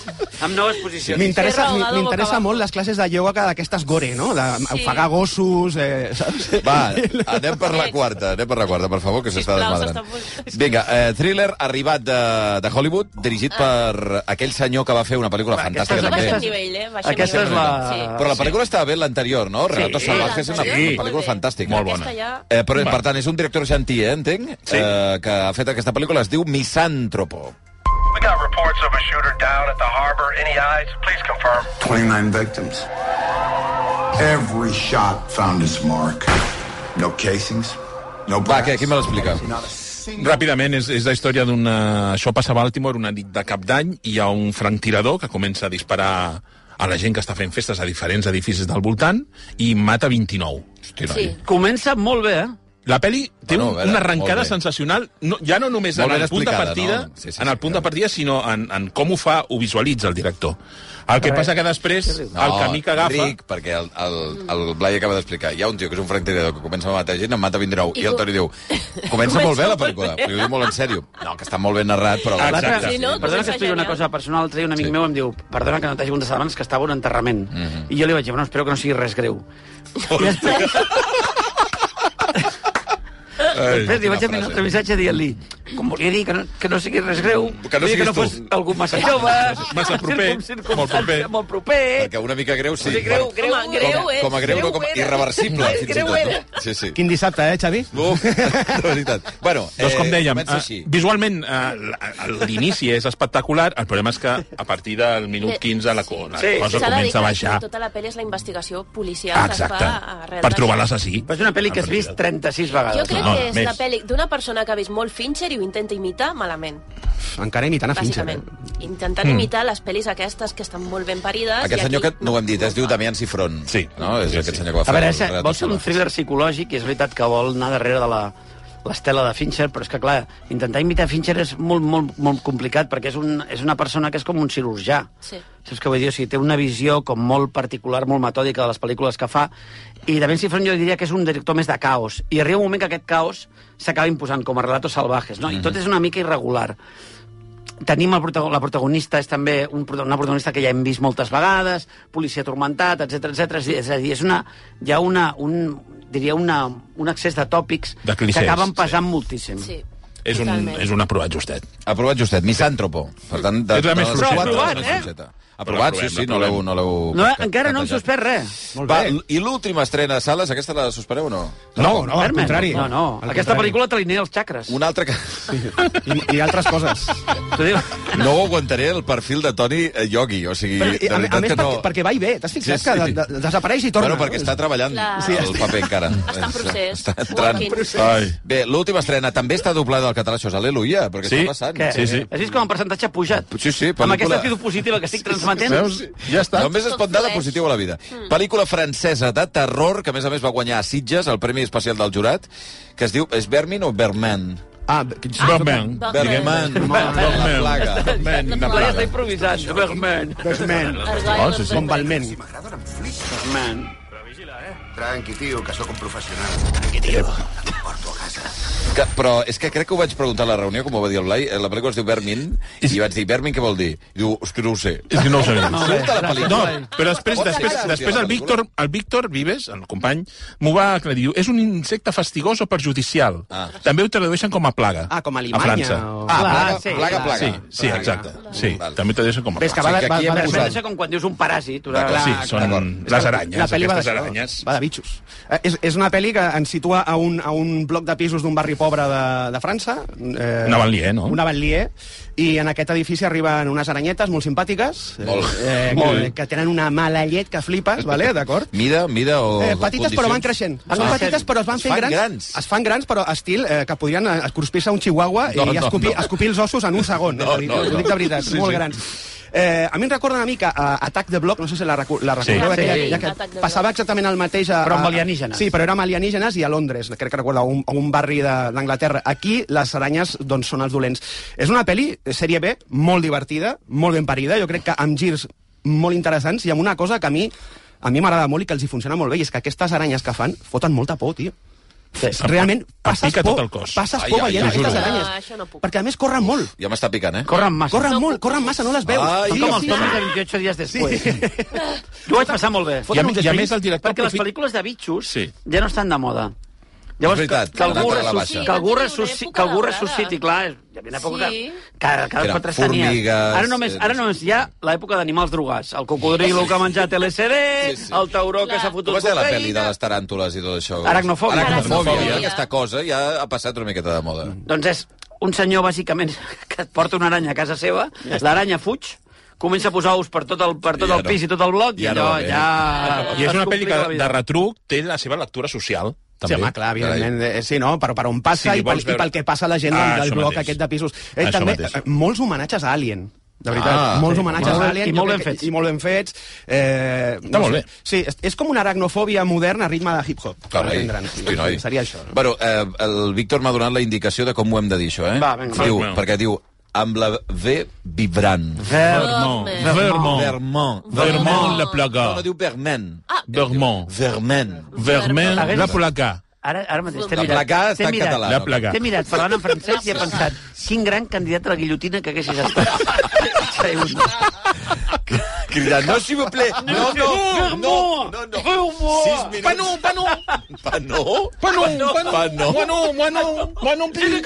F: amb noves posicions.
D: M'interessa
G: Ferro,
D: m'in-
G: ahogado, boca
D: m'interessa
G: abajo.
D: molt les classes de ioga que d'aquestes gore, no? De ofegar gossos, eh, saps?
E: Va, anem per la quarta, anem per la quarta, per favor, que s'està
G: Sisplau,
E: desmadrant.
G: s'està molt-
E: Vinga, eh, thriller arribat de, de Hollywood, dirigit per aquell senyor que va fer una pel·lícula fantàstica
G: Però
F: aquesta
G: baixem
F: és-
E: també.
G: nivell, eh? Baixem
F: aquesta
G: nivell.
F: és la-
G: Sí.
E: Però la pel·lícula estava bé l'anterior, no? Relatos
F: Sí.
E: Salvajes és una,
H: Sí.
E: una pel·lícula
G: Molt bé.
E: fantàstica.
H: Molt bona.
G: Aquesta ja...
E: Eh, però, per tant, és un director argentí, eh, entenc,
H: Sí.
E: eh, que ha fet aquesta pel·lícula, es diu Misántropo.
L: We got reports of a shooter down at the harbor. Any eyes? Please confirm.
J: 29 victims.
M: Every shot found its mark. No casings, no
E: Va, què, qui me l'explica?
H: Ràpidament, és, és la història d'una... Això passa a Baltimore una nit de cap d'any i hi ha un franctirador que comença a disparar a la gent que està fent festes a diferents edificis del voltant i mata 29. Hosti,
F: Sí. Comença molt bé, eh?
H: La pel·li té
F: Bueno,
H: bueno,
F: a veure,
H: una arrencada
F: molt bé.
H: sensacional, no, ja no només en
E: Molt ben
H: el punt de
E: explicada,
H: partida,
E: no?
H: no? sí, sí, en el punt de partida, sinó en, en com ho fa, ho visualitza el director. El que
E: Res.
H: passa que després, el camí que agafa...
E: Enric, perquè el, el, el Blai acaba d'explicar. Hi ha un tio que és un franctirador que comença a matar gent, en mata 29, i,
G: I
E: i el
G: tu-
E: Toni diu, comença molt bé la pel·lícula, però ho diu molt en sèrio. No, que està molt ben narrat, però...
F: L'altre,
G: Sí, no?
F: perdona que
G: doncs Comença
F: expliqui una
G: genial.
F: cosa personal. L'altre dia un amic meu em diu perdona que no t'hagi contestat abans, que estava a un enterrament.
E: Mhm.
F: I jo li vaig dir, bueno, espero que no sigui res greu. I després, després li vaig enviar un altre missatge dient-li com volia dir que no, que no sigui res greu,
E: Que no
F: vull dir que
E: siguis
F: no fos
E: tu.
F: algú massa jove,
E: Massa proper,
F: circum- circumstància molt proper,
E: Perquè una mica greu, sí.
F: Sí, greu, greu, eh?"
G: Home, greu eh?"
E: com,
G: és,
E: com a greu, no,
G: greu
E: com a
G: era.
E: irreversible,
G: És
E: fins i
G: greu
E: tot.
G: era.
E: No? Sí, sí.
D: Quin dissabte, eh, Xavi?
E: Uf, de veritat. Bueno,
H: Doncs com dèiem,
E: comença així.
H: eh, visualment eh, l- l'inici és espectacular, el problema és que a partir del minut 15 la, co- la cosa
G: Eh, S'ha de dir
H: comença
G: que
H: a baixar.
G: Tota la pel·li és la investigació policial
H: Ah,
G: que es
H: Exacte,
G: fa arrel
H: per
G: de-
H: trobar l'assassí.
F: Però és una
E: Ah,
F: pel·li que has vist 36
G: Jo
F: vegades.
G: crec
H: No,
G: que és
H: més.
G: la pel·li d'una persona que ha vist molt Fincher i ho intenta imitar malament,
D: Encara imitant a Fincher.
G: bàsicament. Intentant
E: Mm.
G: imitar les pel·lis aquestes que estan molt ben parides.
E: Aquest
G: i
E: senyor
G: Ah, aquí...
E: que no ho hem dit, es diu Damián Cifrón. Sí. No? És aquest senyor que va
F: A
E: fer...
F: veure,
E: el
F: ese,
E: Renato
F: vol ser
E: Sala.
F: un thriller psicològic i és veritat que vol anar darrere de la l'estela de Fincher, però és que, clar, intentar imitar Fincher és molt, molt, molt complicat perquè és, un, és una persona que és com un cirurgià.
G: Sí.
E: Hmm.
F: Saps què vull dir? O sigui, té una visió com molt particular, molt metòdica de les pel·lícules que fa, i de Ben Cifron jo diria que és un director més de caos. I arriba un moment que aquest caos s'acaba imposant com a relatos salvajes, no? I
D: Mm-hmm.
F: tot és una mica irregular. Tenim el protago la protagonista, és també un, prota- una protagonista que ja hem vist moltes vegades, policia atormentat, etc etc. És a dir, és una, hi ha una, un, diria una, un excés de tòpics
H: De clichés,
F: que acaben pesant sí. moltíssim.
G: Sí.
H: És un,
G: Totalment.
H: és un aprovat justet.
E: Aprovat justet, misàntropo. Per tant, de,
H: És la més
E: de les
H: fluixeta.
E: quatre,
H: Aprovat,
E: la més
H: eh?
E: fluixeta. Aprovat, sí,
H: L'aprovem,
E: sí, no l'heu... No, l'heu
F: No,
E: cat-
F: encara no hem
E: catejat.
F: suspès res.
D: Molt
E: Va,
D: bé.
E: l- I l'última estrena a sales, aquesta la suspeneu o no?
D: No, no, al
F: Birdman?
D: contrari.
F: No, no.
D: Al
F: Aquesta
D: contrari.
F: pel·lícula te l'alinea els xacres.
E: Una altra que...
D: I, I altres coses.
F: T'ho dic.
E: No ho aguantaré el perfil de Toni eh, Iogui, o sigui,
D: Però, i,
E: de
D: a, a
E: veritat
D: més,
E: que no...
D: perquè, perquè va i ve. T'has fixat
E: Sí,
D: que
E: sí.
D: de, de, desapareix i torna.
E: Bueno, perquè està treballant
G: Clar.
E: sí, el paper encara.
G: Està en procés.
E: Està entrant.
G: Working.
E: Ai. Bé, l'última estrena també està doblada al català, això és Aleluia, perquè
H: Sí.
E: està passant.
F: Què? Has vist com el percentatge ha pujat?
E: Sí, sí,
F: Amb
E: pel·lícula.
F: aquesta actitud positiva que estic transmetent...
E: Veus? Ja està. Només es
G: Tot
E: pot dar de
G: flueix.
E: positiu a la vida. Mm. Pel·lícula francesa de terror, que a més a més va guanyar a Sitges el Premi Especial del Jurat, que es diu... És Vermin o Verman?
D: Ah,
H: Birdman.
E: Bergman. La plaga.
H: Birdman.
F: La Laia està improvisant. Bergman.
E: Ah,
D: Birdman.
G: Argyle,
H: sí, sí.
D: Com Balment.
F: Bergman.
M: Tranqui, tío, que sóc un professional.
E: Que, però és que crec que ho vaig preguntar a la reunió, com ho va dir el Blai, eh, la pel·lícula es diu Vermin, i vaig dir, Vermin què vol dir? I diu, és que no ho sé.
H: És que no ho sabia.
E: No, Surt a la
H: No,
E: pel·lícula.
H: però després,
E: Pot ser
H: després,
E: que surti
H: després
E: a la
H: el
E: pel·lícula?
H: Víctor, el Víctor Vives, el company, m'ho va aclarir. Diu, és un insecte fastigós o perjudicial.
E: Ah.
H: També ho tradueixen com a plaga.
D: Ah, com a
H: A França.
D: Alemanya.
E: Ah,
D: O...
F: Clar,
E: plaga,
F: sí,
E: plaga,
F: clar.
E: plaga.
H: Sí, sí,
E: Plaga.
H: exacte. Sí,
E: Val.
H: també ho tradueixen com a
D: Ves que
H: plaga.
D: va,
E: O sigui que
D: de- va,
E: aquí hem
D: va, de-
E: posat-
F: Bergman és com quan dius un paràsit. Una...
E: D'acord,
H: Sí,
E: Ah,
H: són
E: d'acord.
H: les aranyes,
D: la pel·li va
H: aquestes
D: d'això,
H: aranyes.
D: va de bitxos. Eh, és, és una pel·li que ens situa a un, a un bloc de pisos d'un barri pobre de, de França. Eh,
H: Una banlieue, no?
D: Una banlieue. I en aquest edifici arriben unes aranyetes molt simpàtiques,
E: Molt.
D: eh,
H: Molt.
D: que, que tenen una mala llet que flipes, vale? d'acord?
E: Mida, mida o...
D: Eh, petites però van creixent.
E: Ah,
D: Es fan petites però es van
E: Es
D: fent
E: fan
D: grans.
E: grans.
D: Es fan grans però estil eh, que podrien eh, cruspir-se un chihuahua
E: No,
D: i
E: no,
D: escopir,
E: no.
D: escopir els ossos en un segon.
E: No,
D: eh, dir,
E: no,
D: ho dic
E: no.
D: de veritat,
E: Sí,
D: molt
E: sí.
D: grans. Eh, a mi em recorda una mica eh, a Atac de Bloc, no sé si la, recu la
H: Sí.
D: recordeu,
H: Sí.
D: aquella- ja
G: Atac de
D: que
G: Bloc.
D: passava exactament el mateix... A,
F: Però amb
D: a-
F: alienígenes.
D: Sí, però era amb alienígenes i a Londres, crec que recordo, a un, a un barri de- d'Anglaterra. Aquí les aranyes doncs, són els dolents. És una pel·li, eh, sèrie B, molt divertida, molt ben parida, jo crec que amb girs molt interessants i amb una cosa que a mi a mi m'agrada molt i que els hi funciona molt bé, i és que aquestes aranyes que fan foten molta por, tio. Realment, passes
H: pica
D: por,
H: tot el cos.
D: passes
E: Ai,
D: por
E: ai,
D: veient
E: ai,
D: aquestes
E: juro.
D: aranyes.
G: Ah, això no puc.
D: perquè a més corren molt.
E: Ja m'està picant, eh?
F: Corren massa.
D: Corren molt, corren massa, no les veus.
E: Ai,
D: Són
F: Com els
E: Sí.
F: tomis de 28 dies després. Jo ho vaig passar molt bé.
H: I a, mi- i a més el director...
F: Perquè les
H: aprofita-
F: pel·lícules de bitxos
H: Sí.
F: ja no estan de moda. Llavors,
E: És veritat,
F: que, que, algú,
E: la data de la
F: ressusciti,
E: baixa.
F: que algú,
G: Sí,
F: ressusciti,
G: una
F: que algú
G: època
F: ressusciti,
G: daurada.
F: clar, és, hi havia una època
G: Sí.
F: que, que cada
E: Eren
F: quatre estanies.
E: formigues,
F: Ara només, ara
E: eren-
F: només hi ha l'època d'animals drogats. El cocodrilo que ha menjat LSD,
E: Sí, sí.
F: el tauró que
G: Clar.
F: s'ha fotut
E: Com es deia la pel·li de
F: cocaïna...
E: les taràntules i tot això?
F: Aracnofòbia.
E: Aracnofòbia.
G: Aracnofòbia.
E: Aquesta cosa ja ha passat una miqueta de moda.
F: Doncs és un senyor, bàsicament, que et porta una aranya a casa seva, l'aranya fuig, comença a posar ous per tot el, per tot
H: Ja
F: el
H: no.
F: pis i tot el bloc, i
H: Ja no
F: allò
H: va bé.
F: ja...
H: Ah, I és
F: es
H: una
F: complica
H: pel·li que,
F: la vida.
H: de retruc, té la seva lectura social.
D: També.
H: També.
D: Sí, home, clar, evidentment, eh, sí, no? Però per on passa
H: Sí,
D: sí, i, pel,
H: vols veure-
D: i pel que passa a la gent
H: Ah,
D: ah, del
H: això
D: bloc
H: mateix.
D: aquest de pisos.
H: Això
D: Ell, també,
H: mateix.
D: eh, molts homenatges a Alien, de veritat.
H: Ah,
D: Ah, molts
H: sí.
D: sí, homenatges a
H: Molt ben-
D: Alien.
H: i
D: jo
H: molt
D: crec
H: ben
D: que-
H: fets.
D: I molt ben fets. Eh,
H: Està molt
D: sé.
H: bé.
D: Sí, és, és com una aracnofòbia moderna a ritme de hip-hop. per
E: Carai,
D: entendre'ns.
E: hosti, noi.
D: Seria això.
E: Bueno, eh, el Víctor m'ha donat la indicació de com ho hem de dir, això, eh?
D: Va, vinga.
E: Diu,
D: Vermont.
E: perquè diu, amb la V vibrant.
D: Eh,
H: Vermont. Vermont.
E: Vermont.
H: Vermont, la plaga.
E: No, no diu Vermen.
H: Ah. Vermont.
E: Vermen.
H: Vermont, la placa.
F: Ara, ara mateix t'he
E: La
F: mirat.
E: placa
F: t'he
E: està en
F: mirat,
E: català, La no? placa.
F: T'he mirat parlant en francès i he pensat quin gran candidat a la guillotina que haguessis estat.
E: Cridant, no, s'il vous plaît. No, no, no, no, no. Sis minuts.
H: Pas non, pas non.
E: Pas no.
H: Pas non, pas non.
E: Pas non.
H: Moi non, moi non. Moi non plus.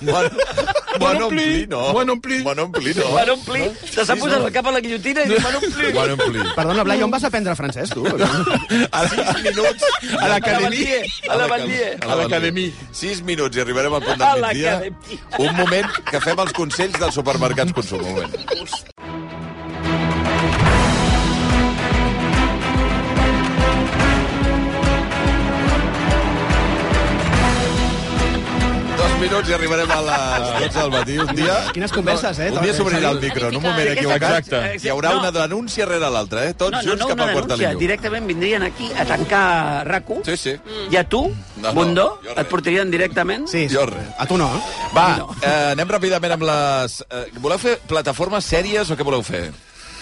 E: Moi, moi non plus, no.
H: Moi non plus.
E: Moi non plus, no.
F: Van omplir, te s'ha posat el cap a la guillotina i diu, van omplir.
E: Moi non plus.
D: Perdona, Blai, on vas aprendre francès, tu?
E: Sis minuts
H: A l'acadèmia.
F: A la Batlle.
H: A l'acadèmia.
E: Sis minuts i arribarem al punt
F: A
E: del migdia.
F: l'acadèmia.
E: Un moment, que fem els consells dels supermercats Consum. Un moment. Dos minuts i arribarem a les 12 del matí. Un dia...
D: Quines converses, eh?
E: Un dia s'obrirà el micro, en un moment equivocat.
H: Exacte.
E: Hi haurà
F: No.
E: una denúncia rere l'altra, eh? Tots
F: No, no,
E: junts
F: no,
E: cap
F: una
E: al quart de
F: denúncia.
E: l'Illo.
F: Directament vindrien aquí a tancar rac
E: Sí, sí.
F: i a tu,
E: No, no,
F: Bundó,
E: jo res.
F: et portarien directament...
D: Sí, sí.
E: Jo res.
D: A tu no, eh?
E: Va, eh, anem ràpidament amb les... Eh, voleu fer plataformes sèries o què voleu fer?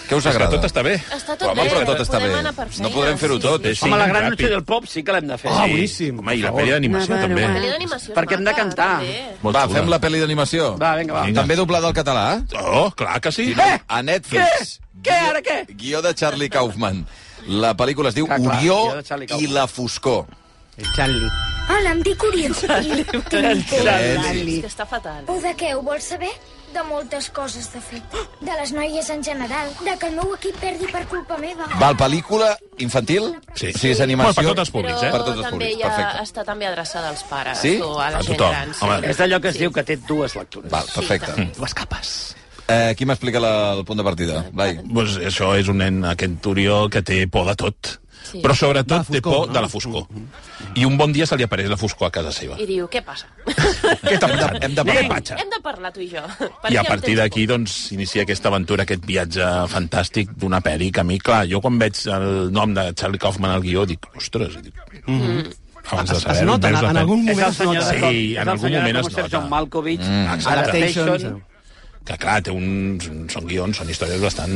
E: Què us
H: És que
E: agrada?
H: tot està bé.
G: Està tot
E: Home,
G: bé,
E: però tot
G: podem
E: està bé.
G: anar per feina,
E: No podrem fer-ho
G: sí.
E: tot. eh?
H: Sí,
F: Home, la gran
H: ràpid. Oh.
F: noche del pop sí que l'hem de fer.
D: Ah,
H: Sí.
D: boníssim.
H: Home, i la
D: Per
H: pel·li
D: favor.
H: d'animació,
F: Una
H: també.
G: La pel·li d'animació és
F: Perquè hem de
G: maca,
F: cantar.
G: també.
H: Molt
E: Va,
H: xula.
E: fem la pel·li d'animació.
F: Va, vinga, va.
H: Vinga.
E: També doblada al català?
H: Oh, clar que sí.
E: Eh! A Netflix.
F: Què, ara què?
E: Guió de Charlie Kaufman. La pel·lícula es diu
F: Ah, clar, guió de Charlie
E: Orió i
F: Kaufman.
E: la foscor.
D: El Charlie.
N: Hola, em dic Oriol.
F: Doncs
E: Silenci.
G: És que està fatal.
N: O de què ho vols saber? De moltes coses, de fet. De les noies en general. De que el meu equip perdi per culpa meva.
E: Val, pel·lícula infantil?
H: Sí.
E: Si és animació...
H: Bueno, per tots els públics, eh?
G: Però
E: Per tots els
G: també
E: públics,
G: ja
E: perfecte.
G: està també adreçada als pares
E: Sí?
G: o a la
H: A
G: gent
H: tothom.
G: gran. Sí.
H: Home,
F: És d'allò que es diu que té dues lectures.
E: Val, perfecte.
G: també.
F: Dues capes.
E: Eh, qui m'explica la, el punt de partida? Vai.
H: Pues això és un nen, aquest Turió, que té por de tot.
G: Sí.
H: Però sobretot
D: De la
H: té
D: foscor,
H: por
D: no? Mm-hmm.
H: de la foscor. I un bon dia se li apareix la foscor a casa seva.
G: I diu, què passa?
H: Què t'ha passat?
E: Hem de parlar.
H: patxa.
G: Hem de parlar tu i jo. Per
H: I a
G: què em
H: partir
G: tens
H: d'aquí,
G: por?
H: doncs, s'inicia aquesta aventura, aquest viatge fantàstic d'una pel·li que a mi, clar, jo quan veig el nom de Charlie Kaufman al guió dic, ostres, i dic, mm abans de
D: Mm-hmm. Es, es
H: saber-ho,
D: nota,
H: veus
D: en,
H: la
D: en
H: pel·li.
D: algun
F: És
D: moment
F: el
D: es nota.
F: senyor de
H: Sí,
F: com- és
H: en
F: el
H: algun
F: senyor de
H: moment
F: com
H: es
F: ser
H: nota.
F: John Malkovich,
D: Adaptation.
F: Adaptation...
H: Que clar, té un, són guions, són històries bastant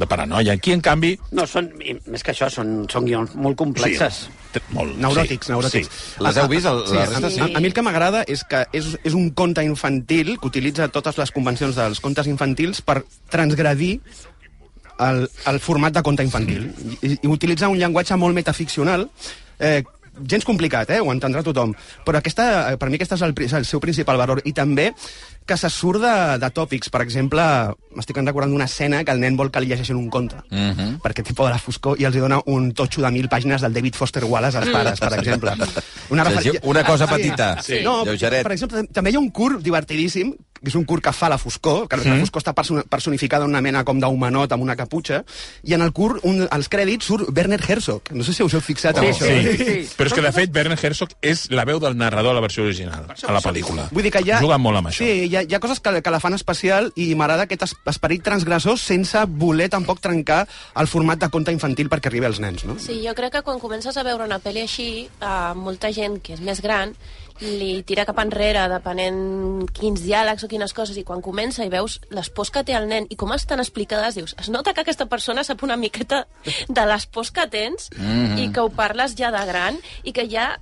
H: de paranoia. Aquí, en canvi...
F: No, són, i més que això, són, són guions molt complexes.
H: té- molt,
D: Neuròtics,
H: sí,
D: neuròtics.
H: Sí.
E: Les heu vist, el-
D: sí,
E: la resta,
D: a,
E: sí?
D: A, a mi el que m'agrada és que és, és un conte infantil que utilitza totes les convencions dels contes infantils per transgredir el, el format de conte infantil. I, I utilitza un llenguatge molt metaficcional, eh, gens complicat, eh, ho entendrà tothom, però aquesta, eh, per mi aquest és el, pri- el seu principal valor. I també que se surt de, de tòpics. Per exemple, m'estic recordant d'una escena que el nen vol que li llegeixin un conte,
E: Mhm.
D: perquè té por de la foscor i els hi dona un totxo de mil pàgines del David Foster Wallace als pares, per exemple. Una,
E: Llegiu
D: refer...
E: Una cosa petita.
H: Sí.
D: No,
E: Lleugeret.
D: per exemple, tam- també hi ha un curt divertidíssim, que és un curt que fa la foscor, que
H: Mhm.
D: la foscor està perso- personificada en una mena com d'humanot amb una caputxa, i en el curt, un, als crèdits, surt Werner Herzog. No sé si us heu fixat en
F: Sí,
D: això.
H: Oh, Sí.
F: Sí.
H: Però és que, de fet, Werner Herzog és la veu del narrador a la versió original, a la pel·lícula.
D: Vull dir que ja...
H: Juga molt amb això.
D: Sí, hi ha, hi ha coses que, que la fan especial i m'agrada aquest es- esperit transgressor sense voler tampoc trencar el format de conte infantil perquè arribi als nens, no?
G: Sí, jo crec que quan comences a veure una pel·li així, a molta gent que és més gran li tira cap enrere, depenent quins diàlegs o quines coses, i quan comença i veus les pors que té el nen i com estan explicades, dius, es nota que aquesta persona sap una miqueta de les pors que tens i que ho parles ja de gran i que ja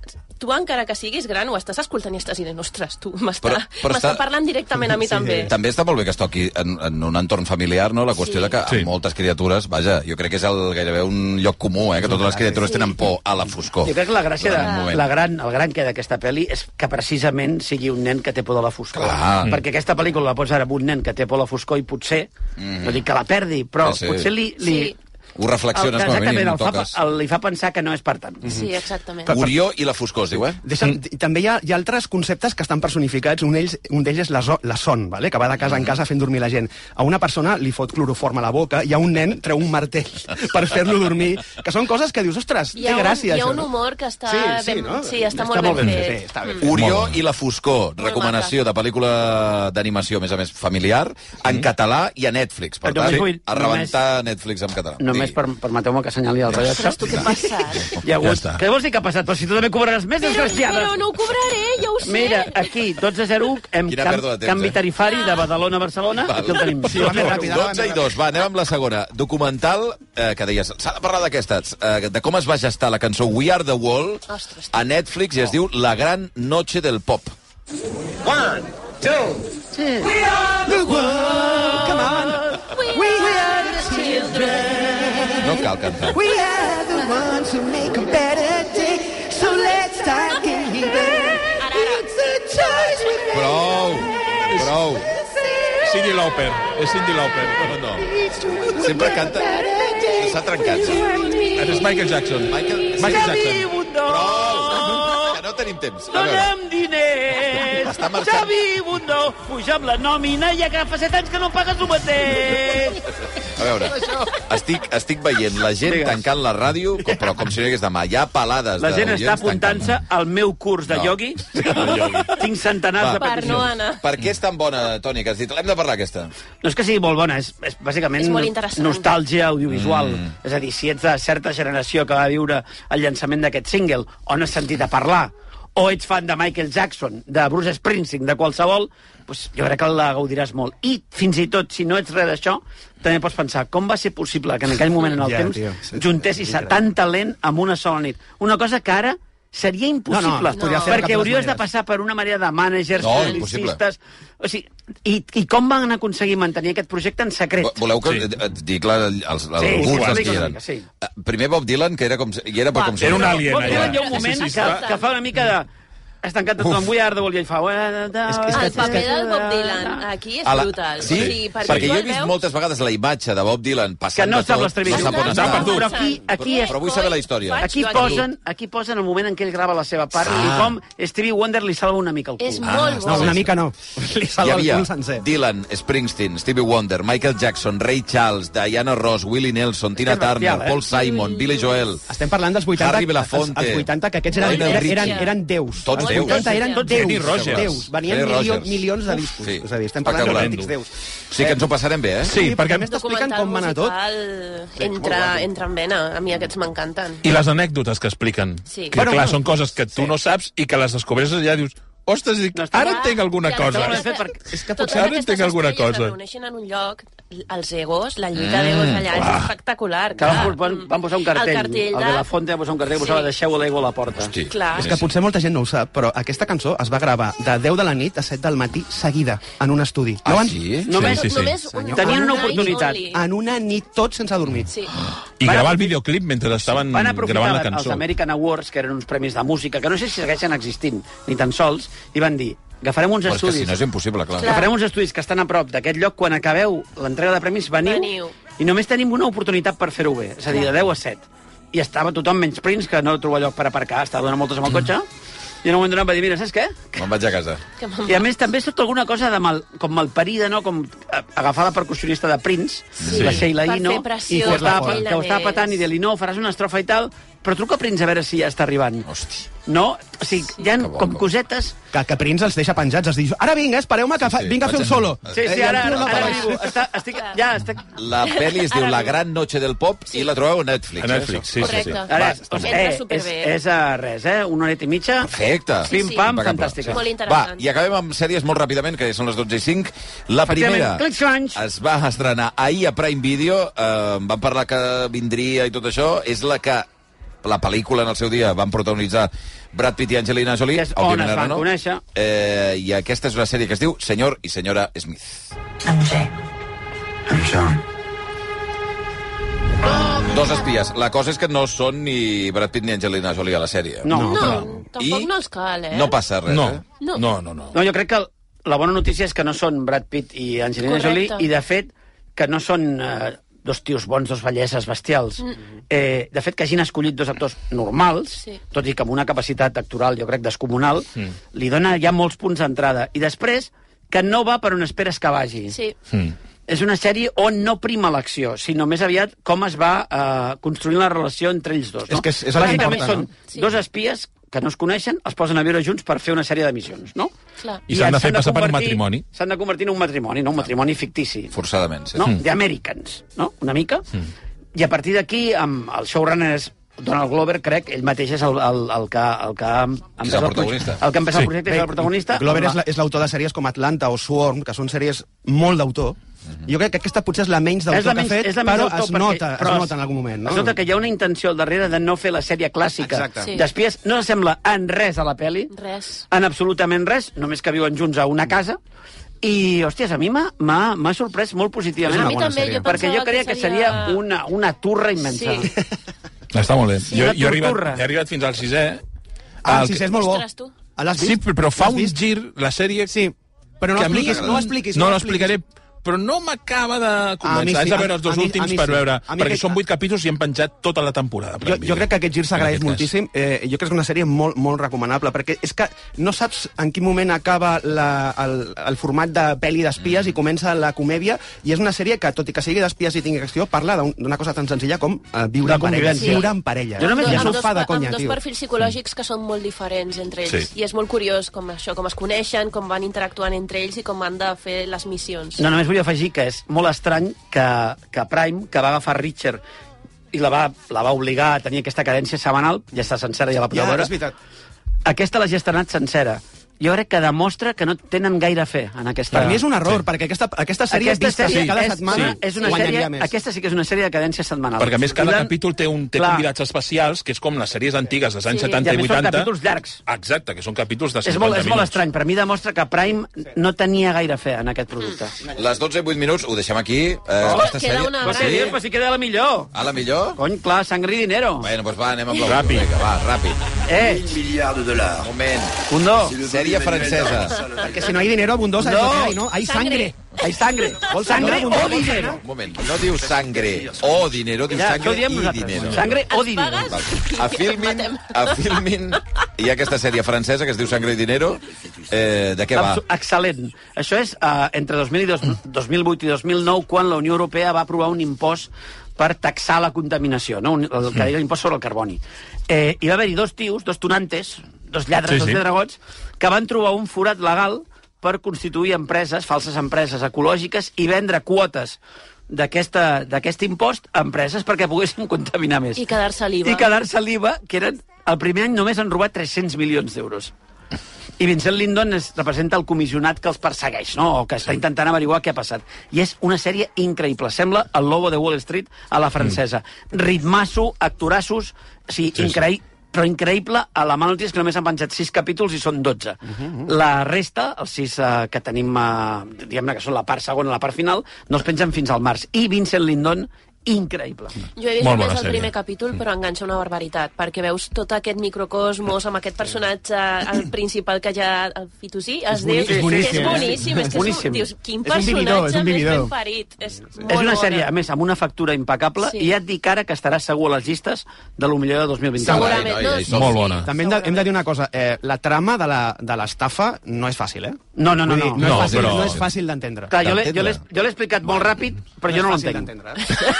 G: tu encara que siguis gran ho estàs escoltant i estàs dient, ostres, tu m'està
E: Però- però
G: m'està
E: està-
G: parlant directament a mi també.
E: També està molt bé que es toqui en, en un entorn familiar, no? La qüestió
G: Sí.
E: sí. de que
H: Sí.
E: sí. moltes criatures, vaja, jo crec que és el, gairebé un lloc comú, eh? Que totes les criatures sí. tenen por a la foscor.
F: Jo crec que la gràcia,
E: Durant un
F: de,
E: moment.
F: la gran, el gran que d'aquesta pel·li és que precisament sigui un nen que té por de la foscor. Mm.
E: Clar.
F: Perquè aquesta pel·lícula la pots ara amb un nen que té por de la foscor i potser, no dic que la perdi, però
E: Sí,
F: sí,
E: sí.
F: sí. potser li... li
G: Sí.
E: Ho reflexiones, com a mínim,
F: Exactament,
E: ho
F: el fa,
E: toques.
F: el, li fa pensar que no és per tant.
G: Sí, exactament.
E: Orió i la foscor, es diu, eh?
D: Deixa, mm. També hi ha, hi ha altres conceptes que estan personificats. Un d'ells un d'ells és la, zo, la son, vale? que va de casa en casa fent dormir la gent. A una persona li fot cloroform a la boca i a un nen treu un martell per fer-lo dormir, que són coses que dius, ostres,
G: Hi ha,
D: té gràcia,
G: un, hi ha
D: això.
G: un
D: no?
G: humor que està
D: Sí, sí,
G: ben,
D: no?
G: sí, està, molt, ben, fet. Mm.
D: està ben
E: Mm. Orió i la foscor, recomanació de pel·lícula d'animació, a més a més, familiar, en català i a Netflix. Per
F: Només
E: tant,
F: vull-
E: a rebentar Netflix en català.
F: Només
E: Digui.
F: per, permeteu-me que assenyali el rellotge.
G: Ostres, tu què passat?
F: Hi ha
E: Ja
F: hagut...
E: està.
F: què vols dir que ha passat? Però si tu també cobraràs més,
G: Però,
F: desgraciada.
G: però no ho cobraré, ja ho sé.
F: Mira, aquí, 12 0 hem
E: Quina
F: cam,
E: pèrdua de temps,
F: canvi
E: eh?
F: tarifari de Badalona a Barcelona.
E: Val.
F: Aquí el tenim.
E: Sí, va més ràpida, 12 i 2, va, anem amb la segona. Documental, eh, que deies, s'ha de parlar d'aquesta, eh, de com es va gestar la cançó We Are The Wall
G: Ostres.
E: a Netflix i es diu La Gran Noche del Pop.
B: One, two,
E: No cal cantar.
O: We are the ones who make a better day, so let's start getting better. It's a choice we make.
E: Prou, prou.
H: Cindy Lauper, és Cindy Lauper.
E: No, no. Sempre canta... S'ha trencat.
H: Ara És Michael Jackson.
E: Michael,
H: Michael Jackson.
E: Prou! Que no tenim temps. A veure,
F: Donem diners,
E: Està marxant.
F: Xavi Bundó, puja amb la nòmina i agafa 7 anys que no pagues el mateix.
E: a veure. Estic, estic veient la gent
F: Digues.
E: tancant la ràdio, com, però com si no hi hagués demà. Hi ha pelades
F: La gent està
E: d'oients tancant.
F: apuntant-se al meu curs de
E: No.
F: iogui. Tinc centenars
E: Va.
F: de
G: Per no
F: peticions.
G: anar.
E: Per què és tan bona, Toni, que has dit? L'hem de parlar, aquesta.
F: No és que sigui molt bona, és, és bàsicament
G: És molt interessant.
F: nostàlgia audiovisual. Mm. És a dir, si ets de certa generació que va viure el llançament d'aquest single, o no has sentit a parlar, o ets fan de Michael Jackson, de Bruce Springsteen, de qualsevol, doncs jo crec que la gaudiràs molt. I, fins i tot, si no ets res d'això, també pots pensar com va ser possible que en aquell moment en el
D: Ja,
F: temps
D: tio, sí, sí,
F: juntessis a tant talent amb una sola nit. Una cosa que ara seria impossible,
D: No, no, es podria fer de cap
F: perquè
D: de les
F: hauries de
D: maneres.
F: passar per una marea de mànagers,
E: No, impossible.
F: publicistes... O sigui, i, I com van aconseguir mantenir aquest projecte en
E: Vo-
F: secret?
E: Voleu que
H: Sí.
E: sí. et dic la, els, els,
F: sí,
E: alguns
F: explica,
E: dels que hi
F: explica,
E: eren.
F: sí.
E: Eh, Primer Bob Dylan, que era com... I era per com
H: Era un alien,
F: Bob Dylan
H: allà.
F: hi ha un moment
G: Sí, sí, sí,
F: que,
G: està.
F: que fa una mica de... Has tancat tot amb We Are the World i ell fa... És
D: que- és que-
G: El paper del Bob
F: Ah.
G: Dylan Ah. aquí és
E: A la-
G: brutal.
E: Sí,
G: O sigui,
E: perquè, perquè
G: tu
E: jo he
G: el
E: vist
G: veus-
E: moltes vegades la imatge de Bob Dylan
F: que
E: passant
F: no
E: de
F: sap
E: tot,
F: les
E: no
F: trevises.
E: sap on
H: Està
E: està.
H: perdut.
F: Però aquí, aquí és...
E: Però vull saber la història.
G: Faig
F: Aquí
G: jo
F: posen, aquí posen el moment en què ell grava la seva part i com Stevie Wonder li salva Ah, una mica el
G: És
F: cul.
G: molt bo.
D: No, una mica no. Li
E: Hi
D: salva el
E: havia
D: cul sencer.
E: Dylan, Springsteen, Stevie Wonder, Michael Jackson, Ray Charles, Diana Ross, Willie Nelson, Tina
F: Estem
E: Turner,
F: bestial, eh?
E: Paul Simon, Billy Joel...
D: Estem parlant dels 80,
E: Harry Belafonte.
D: els, els 80 que aquests eren,
E: Lionel
D: eren,
E: Richie.
D: eren, eren déus.
E: Tots
D: els
E: déus.
D: 80 eren
G: Tots
D: déus.
H: Kenny Rogers.
D: Déus. Venien
E: Kenny
D: milio,
E: Rogers.
D: milions de
E: Uf,
D: discos.
E: sí.
D: És a dir, estem parlant
E: Espectacular.
D: d'autèntics déus.
E: Sí que ens ho passarem bé, eh?
H: Sí, perquè-
D: perquè a més t'expliquen
G: documental
D: com va anar tot.
G: musical, Entra, entra en vena. A mi aquests m'encanten.
H: I les anècdotes que expliquen.
G: Sí.
H: Que,
G: Bueno,
H: clar,
D: bueno.
H: són coses que tu no saps i que les descobreixes i ja dius... Ostres, dic,
F: No està
H: ara
F: clar.
H: entenc alguna
G: Ja,
H: cosa.
F: no, no, no, no.
H: És que
G: Totes
H: potser ara
G: aquestes
H: entenc alguna
G: estrelles
H: cosa.
G: Es reuneixen en un lloc, els egos, la lluita d'egos allà, és espectacular.
F: Ah, Que van, van, van posar un cartell.
G: El cartell
F: el
G: de...
F: de la Fonte va posar un cartell que
G: Sí.
F: posava deixeu l'ego a la porta.
E: Hosti.
G: Clar.
D: És que potser molta gent no ho sap, però aquesta cançó es va gravar de 10 de la nit a 7 del matí seguida, en un estudi. No
E: Ah,
D: van-
E: sí?
F: Només-
H: sí, sí, sí.
G: Només un,
F: Tenien una
G: un night
F: oportunitat. Ah.
G: only.
D: En una nit tots sense dormir.
G: Sí.
H: I
F: Van
H: gravar el
F: aprofitar-
H: videoclip mentre estaven
F: Van
H: gravant la
F: aprofitar els
H: cançó.
F: American Awards, que eren uns premis de música, que no sé si segueixen existint, ni tan sols, i van dir, agafarem uns
E: Però és que
F: estudis...
E: si no és impossible, clar.
G: Clar.
F: Agafarem uns estudis que estan a prop d'aquest lloc, quan acabeu l'entrega de premis, veniu,
G: Veniu.
F: i només tenim una oportunitat per fer-ho bé, és a dir, de 10 a 7. I estava tothom menys Prince, que no trobava lloc per aparcar, estava donant moltes amb el cotxe,
E: Mm.
F: i en un moment donat va dir, mira, saps què?
E: Me'n vaig a casa.
G: Que m'ha-
F: I a més també surt alguna cosa de mal, com malparida, no? Com eh, agafar la percussionista de Prince,
G: Sí.
F: la Sheila
G: Per
F: Ino,
G: fer pressió,
F: i que ho estava,
G: per fer-la
F: que ho estava
G: més.
F: patant i dir-li, no, faràs una estrofa i tal, però truca a Prince a veure si ja està arribant.
E: Hosti.
F: No? O sigui, hi ha
E: Que bo,
F: com
E: bo.
F: cosetes...
D: Que, que Prince els deixa penjats, els diu, ara vinga, espereu-me que fa...
E: Sí, sí,
D: vinc a fer
E: vaig
D: un
E: a-
D: solo. Eh,
F: Sí, sí,
D: I el
F: ara,
D: tio
F: ara,
D: no
F: ara
D: para.
F: arribo. Està, estic, ja, estic...
E: La pel·li es diu
G: Ara
E: La
G: vinc.
E: gran noche del pop i la trobeu a Netflix. eh,
H: A Netflix, sí, sí, sí.
G: Correcte.
F: Ara,
E: Va,
F: o sigui,
G: Entra
F: eh, és,
G: superbé.
F: és a res, eh? Una horeta i mitja.
E: Perfecte.
F: Pim, pam,
E: Impecable.
F: fantàstica.
G: Molt
E: Va,
G: interessant.
E: i acabem amb sèries molt ràpidament, que són les 12 i 5. La
F: Efectivament,
E: primera
F: clics, clancs.
E: es va estrenar ahir a Prime Video, eh, en van parlar que vindria i tot això, és la que la pel·lícula en el seu dia van protagonitzar Brad Pitt i Angelina Jolie.
F: Que és on
E: òbviament
F: es
E: ara
F: van conèixer.
E: Eh, I aquesta és una sèrie que es diu Senyor i senyora Smith.
O: I'm Jay.
M: I'm John.
E: Dos espies. La cosa és que no són ni Brad Pitt ni Angelina Jolie a la sèrie.
F: No.
G: No,
E: però-
G: tampoc
E: I-
G: no els cal, eh?
E: No passa res,
H: No,
E: eh?
G: No.
H: no, no. no.
F: No, jo crec que la bona notícia és que no són Brad Pitt i Angelina
G: Correcte.
F: Jolie, i de fet que no són eh, dos tios bons, dos bellesses bestials. Mm. Eh, de fet, que hagin escollit dos actors normals, sí. tot i que amb una capacitat actoral, jo crec, descomunal, mm. li dona ja molts punts d'entrada. I després, que no va per on esperes que vagi.
G: Sí.
E: Hmm.
H: Mm.
F: És una sèrie on no prima l'acció, sinó més aviat com es va eh, construint la relació entre ells dos. No?
D: És que és- és el que
F: Bàsicament
D: importa,
F: són
D: no?
F: sí. dos espies que no es coneixen, els posen a viure junts per fer una sèrie de missions, no?
G: Clar.
H: I s'han de
F: ens
H: fer passar per un
F: convertir-
H: matrimoni.
F: S'han de convertir en un matrimoni, no? Un matrimoni fictici
E: Forçadament, sí.
F: no? Mm. The Americans, no? Una mica. Mm. I a partir d'aquí, amb el showrunner és Donald Glover, crec, ell mateix és el, el, el que... El que ha
E: És el
F: empezat
E: protagonista.
F: El, que ha empezat sí. el projecte és
D: Bé,
F: el protagonista.
D: Glover
F: amb
D: és la- és l'autor de sèries com Atlanta o Swarm, que són sèries molt d'autor.
E: Mhm.
D: Jo crec que aquesta potser és la menys
F: És la
D: d'autor que ha
F: menys,
D: fet,
F: és la menys
D: però
F: autor,
D: es nota,
F: però
D: es nota en algun moment. No?
F: Es nota que hi ha una intenció al darrere de no fer la sèrie clàssica
D: Exacte. Sí.
F: d'espies. No s'assembla en res a la peli,
G: Res.
F: en absolutament res, només que viuen junts a una casa. I, hòsties, a mi m'ha- m'ha m'ha sorprès molt positivament.
G: A mi també, jo
F: Perquè
G: pensava
F: jo creia que seria, que seria una, una turra immensa.
G: Sí.
H: Està molt bé. jo,
F: una
H: jo he, arribat,
F: torturra.
H: he arribat fins al sisè.
D: Ah,
H: Al
D: el
H: que-
D: sisè és molt bo.
G: Ostres, tu.
D: Ah, L'has
H: Sí,
D: vist?
H: però fa
D: L'has
H: un
D: vist?
H: gir, la sèrie...
D: Sí, però no
H: que a mi-
D: expliquis, no expliquis.
H: No, no
D: expliquis.
H: explicaré, però no m'acaba de
D: A mi
H: convèncer.
D: sí,
H: Haig de veure
D: a-
H: els dos
D: a mi- a
H: últims
D: mi
H: per
D: sí.
H: veure,
D: A mi
H: perquè
D: aquest-
H: són vuit capítols i hem penjat tota la temporada.
D: Jo, jo crec que aquest gir s'agraeix
H: En aquest cas.
D: moltíssim. Eh, jo crec que és una sèrie molt, molt recomanable, perquè és que no saps en quin moment acaba la, el, el format de pel·li d'espies mm. i comença la comèdia, i és una sèrie que, tot i que sigui d'espies i tingui acció, parla d'un- d'una cosa tan senzilla com eh, viure,
F: De
D: en parella,
F: convivència.
D: viure en parella.
F: Jo només
D: I
F: hi ha
D: això
G: amb,
D: em
G: dos,
D: fa de
G: amb
D: conya,
G: dos
D: tio.
G: perfils psicològics que són molt diferents entre ells.
H: Sí.
G: I és molt curiós com això, com es coneixen, com van interactuant entre ells i com han de fer les missions.
F: No, només vull afegir que és molt estrany que, que Prime, que va agafar Richard i la va, la va obligar a tenir aquesta cadència setmanal, ja està sencera, ja la podeu
D: Ja,
F: veure,
D: és veritat.
F: aquesta l'ha gestionat sencera. Jo crec que demostra que no tenen gaire fe en aquesta...
D: Per mi és un error, sí. perquè aquesta, aquesta sèrie
F: Aquesta
D: vista
F: sèrie,
D: cada
F: és,
D: setmana
F: sí, és una sèrie,
D: guanyaria més.
F: aquesta sí que és una sèrie de cadència setmanal.
H: Perquè, a més, cada
F: Durant-
H: capítol té, un, té
F: Clar.
H: convidats especials, que és com les sèries antigues dels anys
G: Sí.
F: I
H: 70
F: a
H: i
F: més
H: 80.
F: són capítols llargs.
H: Exacte, que són capítols de 50
F: És molt, és molt
H: minuts.
F: estrany. Per mi demostra que Prime no tenia gaire fe en aquest producte.
E: Les 12 i 8 minuts, ho deixem aquí. Eh,
F: Oh.
E: aquesta
G: queda una
F: Però
G: gran-
F: sí,
E: Sí?
F: però si queda la millor.
E: A la millor?
F: Cony, clar, sangre i dinero.
E: Bueno, doncs va, anem amb la
H: Ràpid.
E: Vinga, va, ràpid.
F: Eh,
B: Milliards de dollars.
E: Moment.
F: Condó.
E: Sèrie francesa.
D: Perquè si no hi ha dinero abundós, no.
F: No.
D: hay, no? hay sangre.
F: Hay sangre. Vol sangre o dinero.
E: Un moment. No diu sangre o dinero, diu
F: Ja, això ho
E: sangre
F: diem
E: i
F: nosaltres.
E: dinero.
F: Dinero. Sangre o
G: Ens
F: dinero.
G: pagues?
E: A Filmin, a Filmin hi ha aquesta sèrie francesa que es diu Sangre i Dinero. Eh, de què va?
F: Absu- Excel·lent. Això és eh, entre 2000 i dos, 2008 i 2009, quan la Unió Europea va aprovar un impost per taxar la contaminació, no? Un, el que era l'impost sobre el carboni. Eh, hi va haver-hi dos tios, dos tonantes, dos lladres, sí,
H: Sí,
F: dos
H: sí.
F: sí. dragons, que van trobar un forat legal per constituir empreses, falses empreses ecològiques, i vendre quotes d'aquesta- d'aquest impost a empreses perquè poguessin contaminar més.
G: I quedar-se a l'IVA.
F: I quedar-se l'IVA, que eren... El primer any només han robat 300 milions d'euros. I Vincent Lindon es representa el comissionat que els persegueix, no? o que està intentant averiguar què ha passat. I és una sèrie increïble. Sembla el Lobo de Wall Street a la francesa. Mm. Ritmasso, actorassos, o sigui,
H: Sí, sí.
F: sí, increï però increïble a la mà notícies que només han penjat 6 capítols i són 12. Uh
H: Mm-hmm,
F: -huh. La resta, els 6 eh, que tenim, eh, diguem-ne que són la part segona, la part final, no es pengen fins al març. I Vincent Lindon, increïble.
G: Jo he vist Molt
H: Molt
G: només
H: bona
G: el
H: sèrie.
G: primer capítol, però enganxa una barbaritat, perquè veus tot aquest microcosmos amb aquest personatge, el principal que ja... El Fitosí, es diu...
F: boníssim,
G: que
F: sí, sí, sí.
G: és boníssim. És que
F: Boníssim.
G: és un, dius, quin
D: És un
G: personatge
D: vividor, és un
G: més
D: vividor.
G: ben parit. És, molt
F: És una
G: bona.
F: sèrie, a més, amb una factura impecable,
G: Sí.
F: sí. i ja et dic ara que estarà segur a les llistes de lo millor de 2024.
E: Segurament.
G: Segurament.
E: Ai,
G: No,
E: ai, ai,
G: sí,
E: som-
H: Molt
G: sí.
H: bona.
D: També hem de, hem de dir una cosa, eh, la trama de la- de l'estafa no és fàcil, eh?
F: No, no, no,
D: Vull dir,
F: no.
D: no,
H: No,
D: és fàcil,
H: però-
D: no és fàcil d'entendre.
F: Clar, jo l'he- jo l'he
E: D'entendre.
F: jo l'he explicat molt ràpid, però jo no
D: és fàcil
F: l'entenc.
D: d'entendre.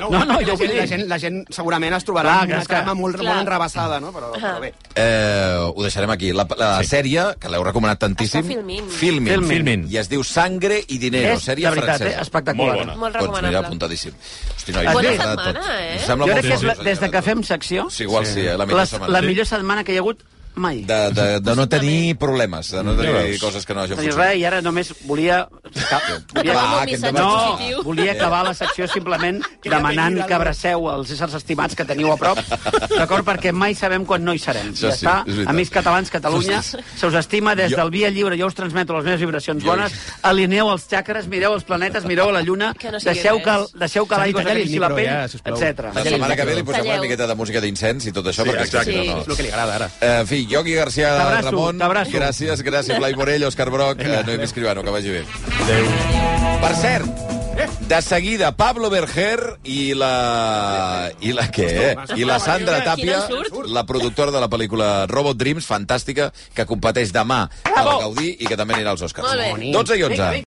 D: No, no, no, jo vull dir... La gent, la gent segurament es trobarà
F: Clar,
D: amb una
F: és que-
D: trama molt,
G: Clar.
D: molt enrabassada, no? Però, però bé.
E: Eh, ho deixarem aquí. La, la sí. sèrie, que l'heu recomanat tantíssim...
G: Està Filmin.
E: Filmin.
F: Filmin.
H: Filmin.
E: I es diu Sangre i Dinero,
F: És,
E: sèrie
F: de veritat, eh?
E: francesa.
F: espectacular.
H: Molt bona.
G: Molt
E: Doncs mira,
G: recomanable.
E: apuntadíssim. Hosti, noi,
F: Bona
E: m'ha agradat
G: setmana,
E: tot.
G: eh?
E: Em
F: Jo
E: sembla molt
F: crec que és
E: bé,
F: la,
E: sí,
F: des de
E: sí,
F: que
E: sí.
F: fem secció,
E: Sí, igual sí, eh? la millor
F: la,
E: setmana.
F: la
E: Sí.
F: millor setmana que hi ha hagut mai.
E: De, de, de no tenir problemes, de no tenir coses que no hagin
F: No dius Doncs res,
E: funcionat.
F: i ara només volia... Ca... volia...
E: Va, que
G: missatge
E: endavant.
F: No,
G: positiu.
F: volia acabar la secció simplement demanant que abraceu els éssers estimats que teniu a prop, d'acord? Perquè mai sabem quan no hi serem.
E: Això
F: Ja
E: sí,
F: està,
E: és veritat.
F: amics catalans, Catalunya, se us estima des
E: Jo-
F: del Via Lliure, jo us transmeto les meves vibracions bones, alineeu els xacres, mireu els planetes, mireu la lluna,
G: Que no sigui
F: deixeu que,
G: res.
F: deixeu que l'aigua
D: Xavi, talli el
F: s'acariciï la
D: micro,
F: pell,
D: ja, sisplau.
E: La
F: etc.
E: setmana que ve li posem una
G: Talleu.
E: miqueta de música d'incens i tot això,
H: Sí,
E: perquè és que si
H: exacte.
E: no, no.
D: És el que li agrada, ara.
E: Eh, en fi, Joaquí García
F: T'abraço,
E: Ramon,
F: t'abraço.
E: gràcies, gràcies, Blai Morell, Òscar Broc, eh, Noemi Escribano, que vagi bé.
H: Adéu.
E: Per cert, De seguida, Pablo Berger i la... I la què? I la Sandra Tapia, la productora de la pel·lícula Robot Dreams, fantàstica, que competeix demà a la Gaudí i que també anirà als Òscars.
G: Molt bé.
E: 12 i 11.